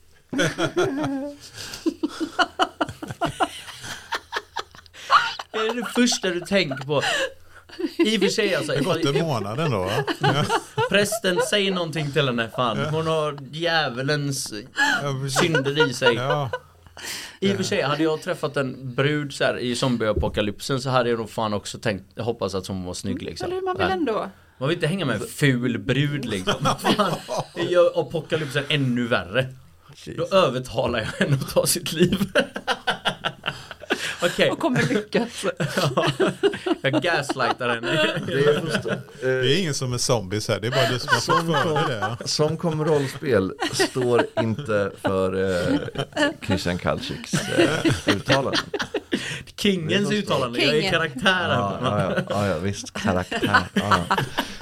C: Det är det första du tänker på. I och för sig alltså.
D: Det har gått en månad ändå va? Ja,
C: Prästen, säg någonting till henne fan. Hon har djävulens
D: ja, precis.
C: synder i sig.
D: ja.
C: I och för sig, hade jag träffat en brud så här, i zombieapokalypsen så hade jag nog fan också tänkt, hoppats att hon var snygg liksom.
B: Mm. Eller hur man vill
C: Nej.
B: ändå.
C: Man vill inte hänga med en ful brud liksom. Fan, det gör apokalypsen ännu värre. Då övertalar jag henne att ta sitt liv. Okej,
B: Och kommer lyckas.
C: jag gaslightar henne.
A: det är först- eh,
D: Det är ingen som är zombies här, det är bara du som har fått för dig det.
A: Som kom rollspel står inte för eh, Christian Kalsiks eh, uttalanden.
C: Kingens uttalande, jag är
B: Kingen.
C: karaktären.
A: Ja, ja, ja, ja, ja, visst, karaktär. Ja,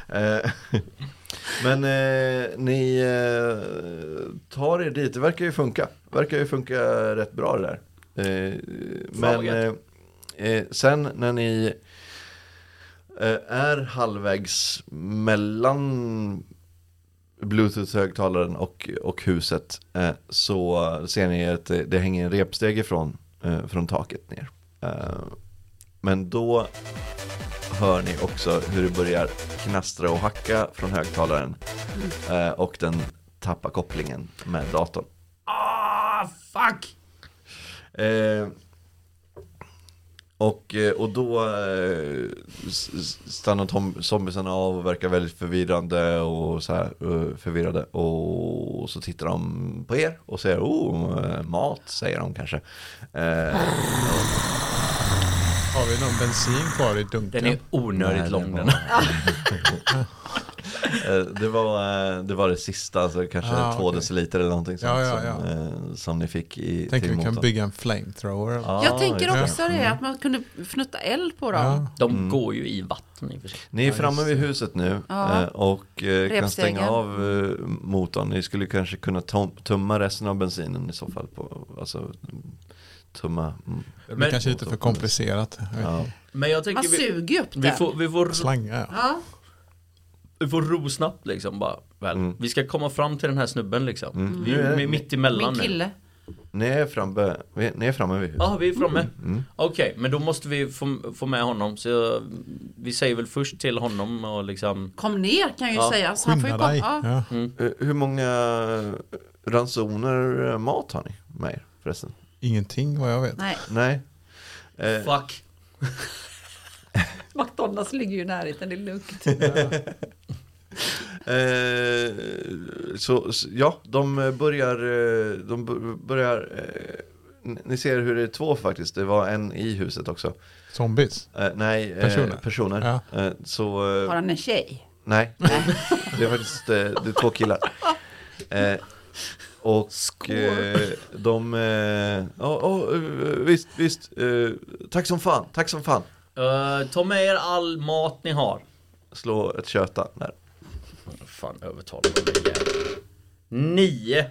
A: ja. Eh, Men eh, ni eh, tar er dit, det verkar ju funka. verkar ju funka rätt bra det där. Eh,
C: vad
A: men eh, eh, sen när ni eh, är halvvägs mellan Bluetooth-högtalaren och, och huset eh, så ser ni att det, det hänger en repsteg ifrån eh, från taket ner. Eh, men då hör ni också hur det börjar knastra och hacka från högtalaren eh, och den tappar kopplingen med datorn.
C: Ah, fuck!
A: Eh, och, eh, och då eh, s- s- stannar tom- zombiesarna av och verkar väldigt förvirrande och så här, eh, förvirrade. Och så tittar de på er och säger oh, eh, mat säger de kanske. Eh,
D: Har vi någon bensin kvar i dunken?
C: Den är onödigt
A: Nej,
C: lång
A: det
C: den.
A: var- Eh, det, var, eh, det var det sista, alltså kanske
D: Ah,
A: två
D: okej.
A: deciliter eller någonting sånt
D: Ja, ja, ja.
A: Som, eh, som ni fick i
D: Tänker vi kan
A: motorn.
D: bygga en flamethrower. eller?
A: Ja,
B: jag tänker
A: just
B: också det, att man kunde fnutta eld på dem.
D: Ja.
C: De går ju i vatten i och för sig.
A: Ni är framme vid huset nu
B: Ja.
A: eh, och eh, kan
B: Repstegen.
A: stänga av eh, motorn. Ni skulle kanske kunna tom- tumma resten av bensinen i så fall. På, alltså, tumma. mm,
D: Det blir
C: Men-
D: kanske lite för komplicerat.
A: Ja.
C: Men jag
B: Man
C: tänker vi,
B: suger ju upp
C: vi,
B: den.
C: får, vi, får,
D: Slangar ja.
B: Ja,
C: vi får ro snabbt liksom bara. Väl.
A: Mm.
C: Vi ska komma fram till den här snubben liksom. Vi
A: Nu är-
C: är mitt emellan
B: min
C: nu.
B: kille.
A: Ni, är framme, ni är framme vid huset. Mm.
C: Ja, vi är framme. Okej, men då måste vi få, få med honom. Så jag, vi säger väl först till honom och liksom...
B: Kom ner kan jag ju
C: Ja,
B: säga. Så han får ju
D: Skynda
B: komma.
D: dig.
B: Ja.
D: Ja.
A: Eh, hur många ransoner eh, mat har ni med er förresten?
D: Ingenting vad jag vet.
B: Nej,
A: Nej. Eh,
C: Fuck.
B: McDonalds ligger ju i närheten, det är lugnt.
A: Eh, så, så ja, de börjar, eh, de b- börjar eh, n- ni ser hur det är två faktiskt, det var en i huset också.
D: Zombies.
A: Eh, nej, eh, personer.
D: Personer.
A: Eh, så, eh,
B: Har han en tjej?
A: nej, det är faktiskt eh, det är två killar. Eh, och eh, de, eh, ja, ja, eh, visst, visst, eh, tack som fan, tack som fan.
C: Eh, ta med er all mat ni har.
A: Slå ett köta där.
C: Fan, övertalar man mig igen. Nio.
A: Mm.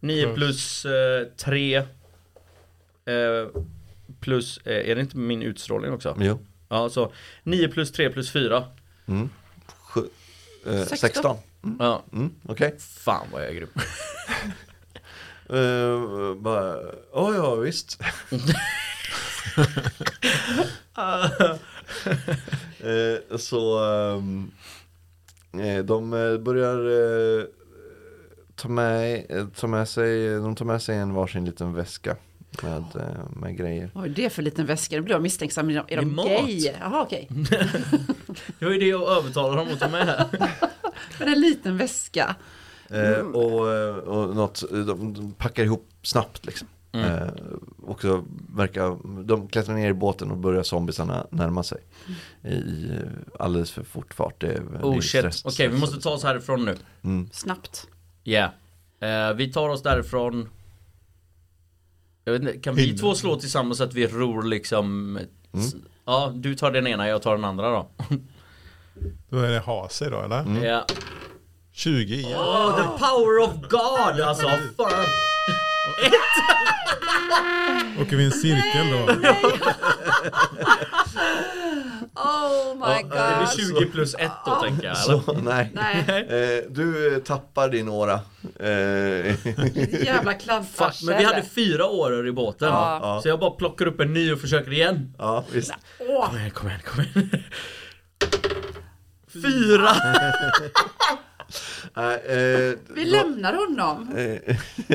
C: Nio plus eh, tre. Eh, plus, eh, är det inte min utstrålning också?
A: Jo.
C: Ja, så 9 plus 3 plus 4.
A: Mm. Sju, eh,
B: Sexton.
A: 16.
C: Ja,
A: Mm, Okej.
C: fan vad jag är grym.
A: Uh, bara, oh, ja visst. Eh, så ehm, eh, de eh, börjar eh, ta, med, eh, ta med sig, de tar med sig en varsin liten väska. med, eh, med grejer.
B: Vad är det för liten väska? Nu blir jag misstänksam. Är de, är
C: Det är
B: de
C: mat.
B: gay? Jaha, okej.
C: Det var ju det jag övertalade dem att ta med här.
B: Men en liten väska.
C: Mm.
A: Eh, och, eh, och något, eh, de, de packar ihop snabbt liksom.
C: Mm.
A: Eh, och så verkar, de klättrar ner i båten och börjar zombiesarna närma sig. I eh, alldeles för fort fart. Det, är- det är
C: Mm. Oh shit. Okej,
A: stress-
C: vi måste ta oss härifrån nu.
B: Snabbt.
C: Ja. Eh, vi tar oss därifrån. Jag vet inte, kan vi
D: Innan.
C: två slå tillsammans så att vi ror liksom... s- Ja, du tar den ena, jag tar den andra då.
D: Då är det hase då eller?
C: Ja.
D: 20 igen.
C: Oh, the power of God alltså! Fan!
D: Åker vi i en cirkel
C: Mm.
D: då?
B: Oh my
C: Det
B: god.
C: blir 20 plus 1 då tänker jag. Eller?
A: Så, nej.
B: Nej,
A: Eh, du eh, tappar din åra. Eh,
B: jävla
C: Fuck,
B: klantarsel.
C: men vi hade fyra åror i båten.
B: Ja.
A: Ja.
C: Så jag bara plockar upp en ny och försöker igen.
A: ja, visst.
B: Åh,
C: Kom igen, kom igen, kom igen. Fyra!
A: Nej, eh,
B: vi
A: då-
B: lämnar honom.
A: eh,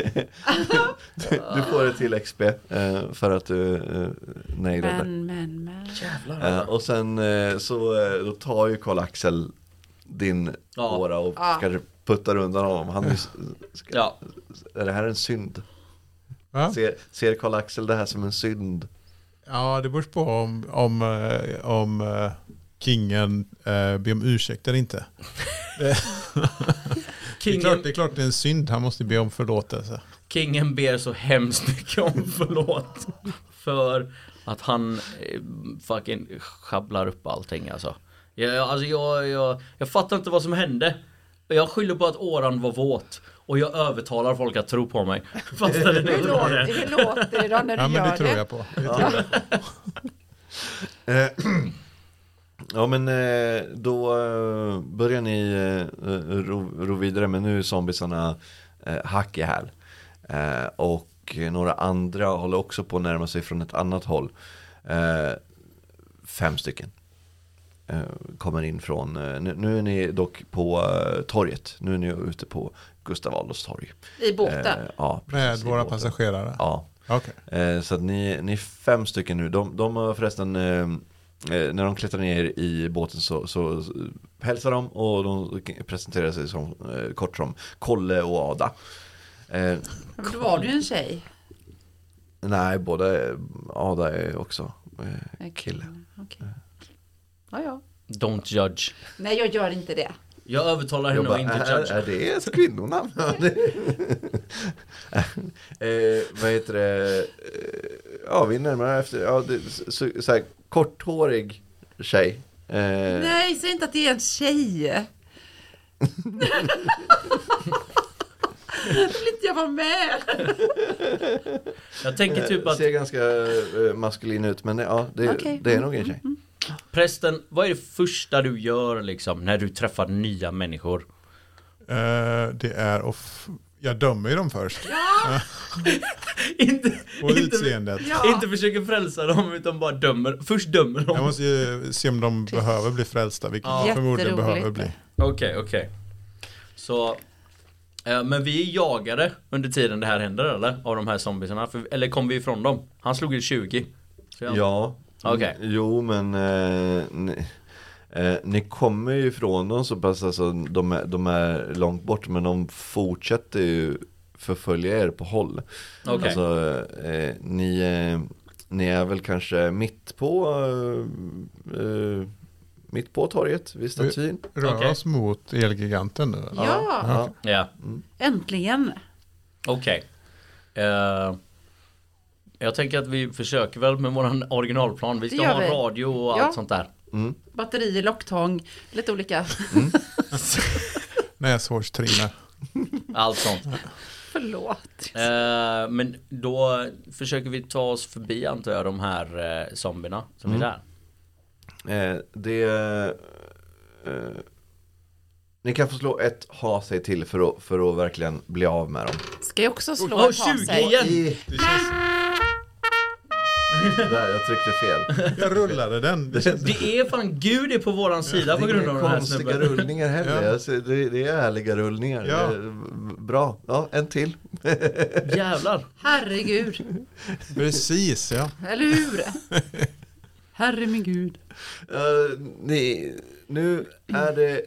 A: du, du får ett till XP eh, för att du eh, nailade det.
B: Men, men, men.
A: Eh, och sen eh, så eh, då tar ju Karl-Axel din
C: Ja.
A: åra och
B: Ja.
A: kanske puttar undan honom. Han är, ju s- ska,
C: Ja,
A: Är det här en synd?
D: Va?
A: Ser, ser Karl-Axel det här som en synd?
D: Ja, det beror på om, om, eh, om eh, kingen eh, ber om ursäkt eller inte. Det är, klart,
C: kingen,
D: det är klart det är en synd, han måste be om förlåtelse.
C: kingen ber så hemskt mycket om förlåt. För att han eh, fucking schabblar upp allting alltså. Jag, jag- alltså jag, jag, jag fattar inte vad som hände. Jag skyller på att åran var våt. Och jag övertalar folk att tro på mig. Fast det
B: Hur
C: inte var
B: låter,
C: det.
B: hur låter det då när du
D: Ja, men
B: gör
D: det tror jag på. Det tror jag.
A: Eh, ja men eh, då eh, börjar ni eh, eh, ro, ro vidare men nu är zombiesarna eh, hack i häl. Eh, och några andra håller också på att närma sig från ett annat håll. Eh, fem stycken. eh, Kommer in från, eh, nu, nu är ni dock på eh, torget, nu är ni ute på Gustav Adolfs torg.
B: I båten.
A: Eh, ja,
D: Med
A: precis, i
D: våra
A: båten.
D: passagerare.
A: Ja,
D: Okej.
A: Eh, Så att ni, ni är fem stycken nu. De, de har förresten, eh, eh, när de klättrar ner i båten så, så så hälsar de och de presenterar sig som, eh, kort som Kolle och Ada. Eh,
B: Men då var du en tjej.
A: nej, båda, Ada är också eh, kille.
B: Okej. Ja, ja.
C: Don't judge.
B: Nej, jag gör inte det.
C: Jag övertalar
A: Jag
C: henne
A: bara,
C: att inte
A: är,
C: judge.
A: är Äh, det ett kvinnonamn? eh, vad heter det? Eh, Ja, vi närmar efter. Ja, det, så, så här, korthårig tjej. Eh,
B: Nej, säg inte att det är en tjej. Då vill inte jag vara med.
C: Jag tänker typ att
A: Ser ganska eh, maskulin ut men det, ja, det,
B: Okej.
A: det är nog en tjej.
C: Prästen, vad är det första du gör liksom när du träffar nya människor?
D: Eh, det är off. Jag dömer ju dem först.
C: inte,
D: På utseendet.
B: Ja.
C: inte försöker frälsa dem utan bara dömer. Först dömer
D: Jag
C: dem.
D: måste ju se om de behöver bli frälsta, vilket de förmodligen
B: Jätteroligt.
D: behöver bli.
C: Okej, okej. Så, eh, men vi är jagade under tiden det här händer eller? Av de här zombiesarna. För, eller kom vi ifrån dem? Han slog ju 20. Så jag-
A: Ja.
C: Okej.
A: Mm, Jo men eh, ni, eh, ni kommer ju ifrån dem så pass alltså de är, de är långt bort men de fortsätter ju förfölja er på håll.
C: Okej.
A: Alltså eh, ni, eh, ni är väl kanske mitt på eh, eh, mitt på torget vid statyn.
D: Rör
C: Okej.
D: oss mot Elgiganten nu. eller?
B: Ja,
A: Ja.
C: Ja.
B: äntligen.
C: Okej. Eh, jag tänker att vi försöker väl med våran originalplan. Vi
B: Det
C: ska
B: gör
C: ha
B: vi.
C: radio och
B: Ja.
C: allt sånt där.
B: Batterier, locktång, lite olika.
D: Näshårstrimmer.
C: Allt sånt.
B: Förlåt.
C: Eh, men då försöker vi ta oss förbi antar jag de här eh, zombierna som
A: Mm.
C: är där.
A: Eh, det... Eh, ni kan få slå ett ha sig till för att, för att verkligen bli av med dem.
B: Ska jag också slå
C: Åh,
B: och ta
C: 20
B: sig?
C: igen!
A: I, där, jag tryckte fel.
D: Jag rullade den. Det känns
C: Det är fan gud är på våran sida på grund av den här
A: konstiga
C: snubben.
A: rullningar heller.
D: Ja.
A: Alltså, det, det är ärliga rullningar.
D: Ja.
A: Det är bra. Ja, en till.
C: Jävlar.
B: Herregud,
D: Precis, ja.
B: eller hur? Herre min gud.
A: Eh, ni, nu är det...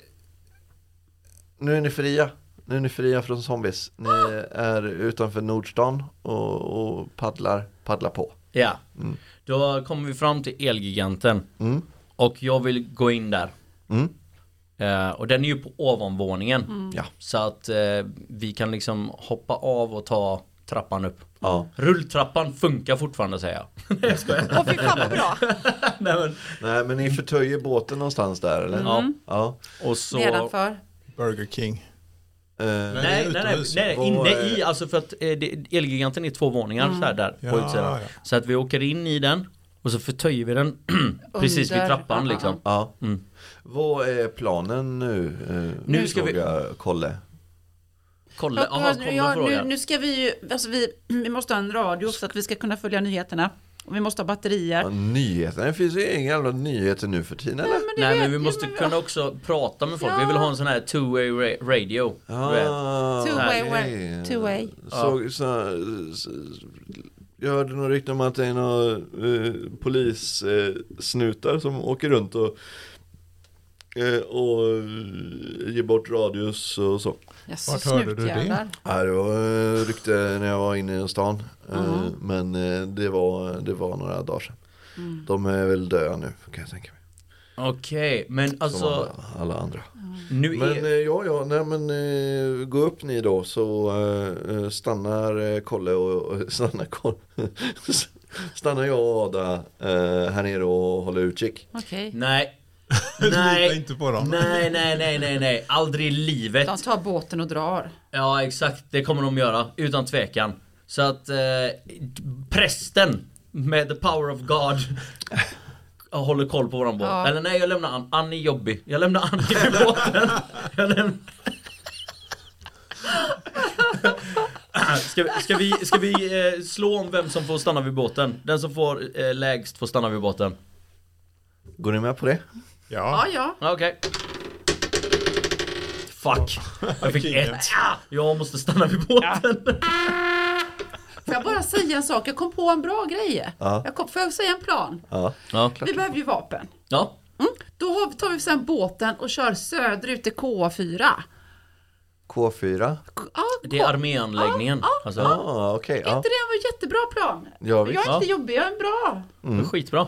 A: Nu är ni fria. Nu är ni fria från zombies. Ni är utanför Nordstan och, och paddlar, paddlar på.
C: Ja. Då kommer vi fram till Elgiganten.
A: Mm.
C: Och jag vill gå in där.
A: Mm.
C: Eh, och den är ju på ovanvåningen.
B: Mm.
A: Ja.
C: Så att eh, vi kan liksom hoppa av och ta trappan upp.
A: Ja.
C: Rulltrappan funkar fortfarande säger jag. Nej jag skojar.
B: Åh fy fan vad bra.
C: Nej, men,
A: Nej, men ni förtöjer båten någonstans där, eller?
C: ja.
A: Ja.
C: Och så...
B: Nedanför.
D: Burger King.
A: Eh,
C: Nej, nej, nej,
D: utomhus.
C: nej,
A: Vad,
C: inne i,
A: eh,
C: alltså för att eh, det- Elgiganten är två våningar
B: Mm.
C: så här där på
D: Ja,
C: utsidan.
D: ja.
C: Så att vi åker in i den och så förtöjer vi den precis vid
B: Under,
C: trappan
B: ja,
C: liksom.
A: Ja.
C: Mm.
A: Vad är planen nu? eh,
C: Nu ska vi-
A: frågar Kolle.
C: Kolla,
B: Ja,
C: aha,
B: nu-
C: kolla
B: ja, nu,
C: frågan.
B: nu ska vi ju, alltså vi, vi måste ha en radio så att vi ska kunna följa nyheterna. Och vi måste ha batterier.
A: Ja, nyheterna, det finns ju inga jävla nyheter nu för tiden eller?
C: Nej men
B: vet
C: vi
B: ju,
C: måste
B: men-
C: kunna också prata med folk. Vi
B: Ja.
C: vill ha en sån här two way ra- radio. du vet.
A: Ah,
B: Two-way,
A: okej.
B: wa- two-way.
A: Så, så, så, jag hörde något rykte om att det är några eh, polissnutar som åker runt och, eh, och ger bort radios och så.
B: Jaså,
D: Vart hörde du det?
B: snutjävlar.
A: Ja, det var eh, rykte när jag var inne i stan. Eh,
B: Mhm.
A: Men eh, det var, det var några dagar sedan. De är väl döda nu kan jag tänka mig.
C: Okej, men
A: Som
C: alltså
A: alla, alla andra.
C: nu
A: Men eh,
C: är...
A: ja, ja, nej men eh, gå upp ni då så eh, eh, stannar eh, Kolle och, och stannar, Kolle, stannar jag och Ada eh, här nere och håller utkik.
B: Okej.
C: Nej.
D: Lita
C: Nej.
D: inte på dem.
C: Nej, nej, nej, nej, nej. Aldrig i livet.
B: De tar båten och drar.
C: Ja, exakt. Det kommer de göra. Utan tvekan. Så att eh, prästen med the power of God håller koll på våran båt.
B: Ja.
C: Eller nej, jag lämnar Ann. Ann är jobbig. Jag lämnar Ann vid båten. Jag lämnar- Ska vi, ska vi, ska vi eh, slå om vem som får stanna vid båten? Den som får eh, lägst får stanna vid båten.
A: Går ni med på det?
C: Mm.
D: Ja,
B: Ja, ja.
C: Okej. Fuck. Jag fick
D: Kingen.
C: ett. Ah! Jag måste stanna vid båten.
B: Får jag bara säga en sak? Jag kom på en bra grej.
A: Ja.
B: Jag kom, får jag säga en plan?
A: Ja.
C: Ja.
B: Vi behöver ju vapen.
C: ja.
B: Mm. Då har- tar vi sen båten och kör söderut till K4.
A: K4?
B: K- Ja,
C: Det
B: K-
C: är arméanläggningen. Alltså,
A: Ja, ah, okej.
B: Är
A: ja.
B: inte det en jättebra plan?
A: Ja,
B: jag
A: visst.
B: är inte jobbig, jag är bra.
C: det är skitbra.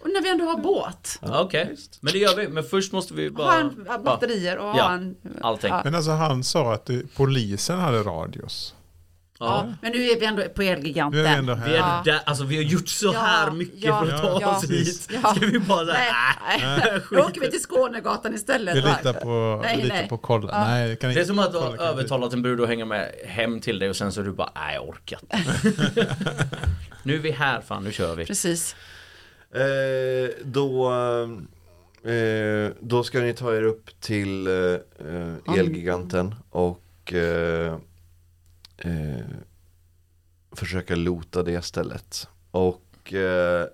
B: Och när vi ändå har båt.
C: Ja, Okej, men det gör vi. Men först måste vi bara...
B: Ha en, ha batterier och
C: Ja,
B: ha en...
C: allting.
B: Ja.
D: men alltså han sa att det, polisen hade radios.
C: Ja.
B: Ja, men nu är vi ändå på
D: Nu är vi
B: Elgiganten.
D: ändå
C: Vi, är
D: här.
B: Ja.
C: där, alltså, vi har gjort så
B: Ja,
C: här mycket
B: ja,
C: för att ta
B: ja.
C: oss hit.
B: Ja.
C: Ska vi bara "Äh."
B: Nej,
C: såhär...
B: nej. Då åker vi till Skånegatan istället.
D: Vi
B: va?
D: litar på,
B: Nej,
D: vi litar
B: nej.
D: på kolla. Nej, kan
C: Det
D: inte.
C: är som att du har
D: Kolla, kan inte.
C: övertalat en brud att hänga med hem till dig och sen så är du bara nej jag orkar inte. Nu är vi här fan, nu kör vi.
B: Precis.
A: Eh, då, eh, då ska ni ta er upp till eh, eh, Elgiganten och eh, eh, försöka lota det stället. Och eh,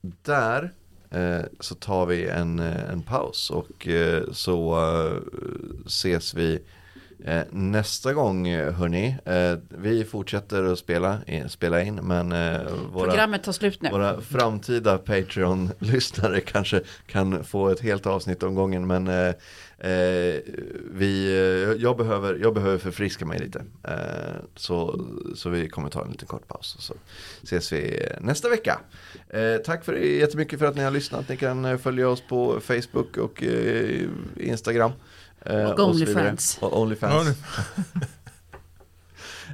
A: där eh, så tar vi en, eh, en paus och eh, så eh, ses vi eh, nästa gång eh, hörni. Eh, vi fortsätter att spela, eh, spela in men eh, våra...
B: Programmet tar slut nu.
A: Våra framtida Patreon-lyssnare kanske kan få ett helt avsnitt om gången men eh, eh, vi, eh, jag, behöver, jag behöver förfriska mig lite. Eh, så, så vi kommer ta en liten kort paus och så ses vi nästa vecka. Eh, tack för jättemycket för att ni har lyssnat. Ni kan eh, följa oss på Facebook och eh, Instagram. eh,
B: Och
A: så vidare.
B: Onlyfans.
A: Och Onlyfans.
D: Only-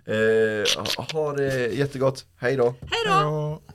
A: Eh, ha- ha det jättegott. Hej då.
B: Hej då!
D: Ja.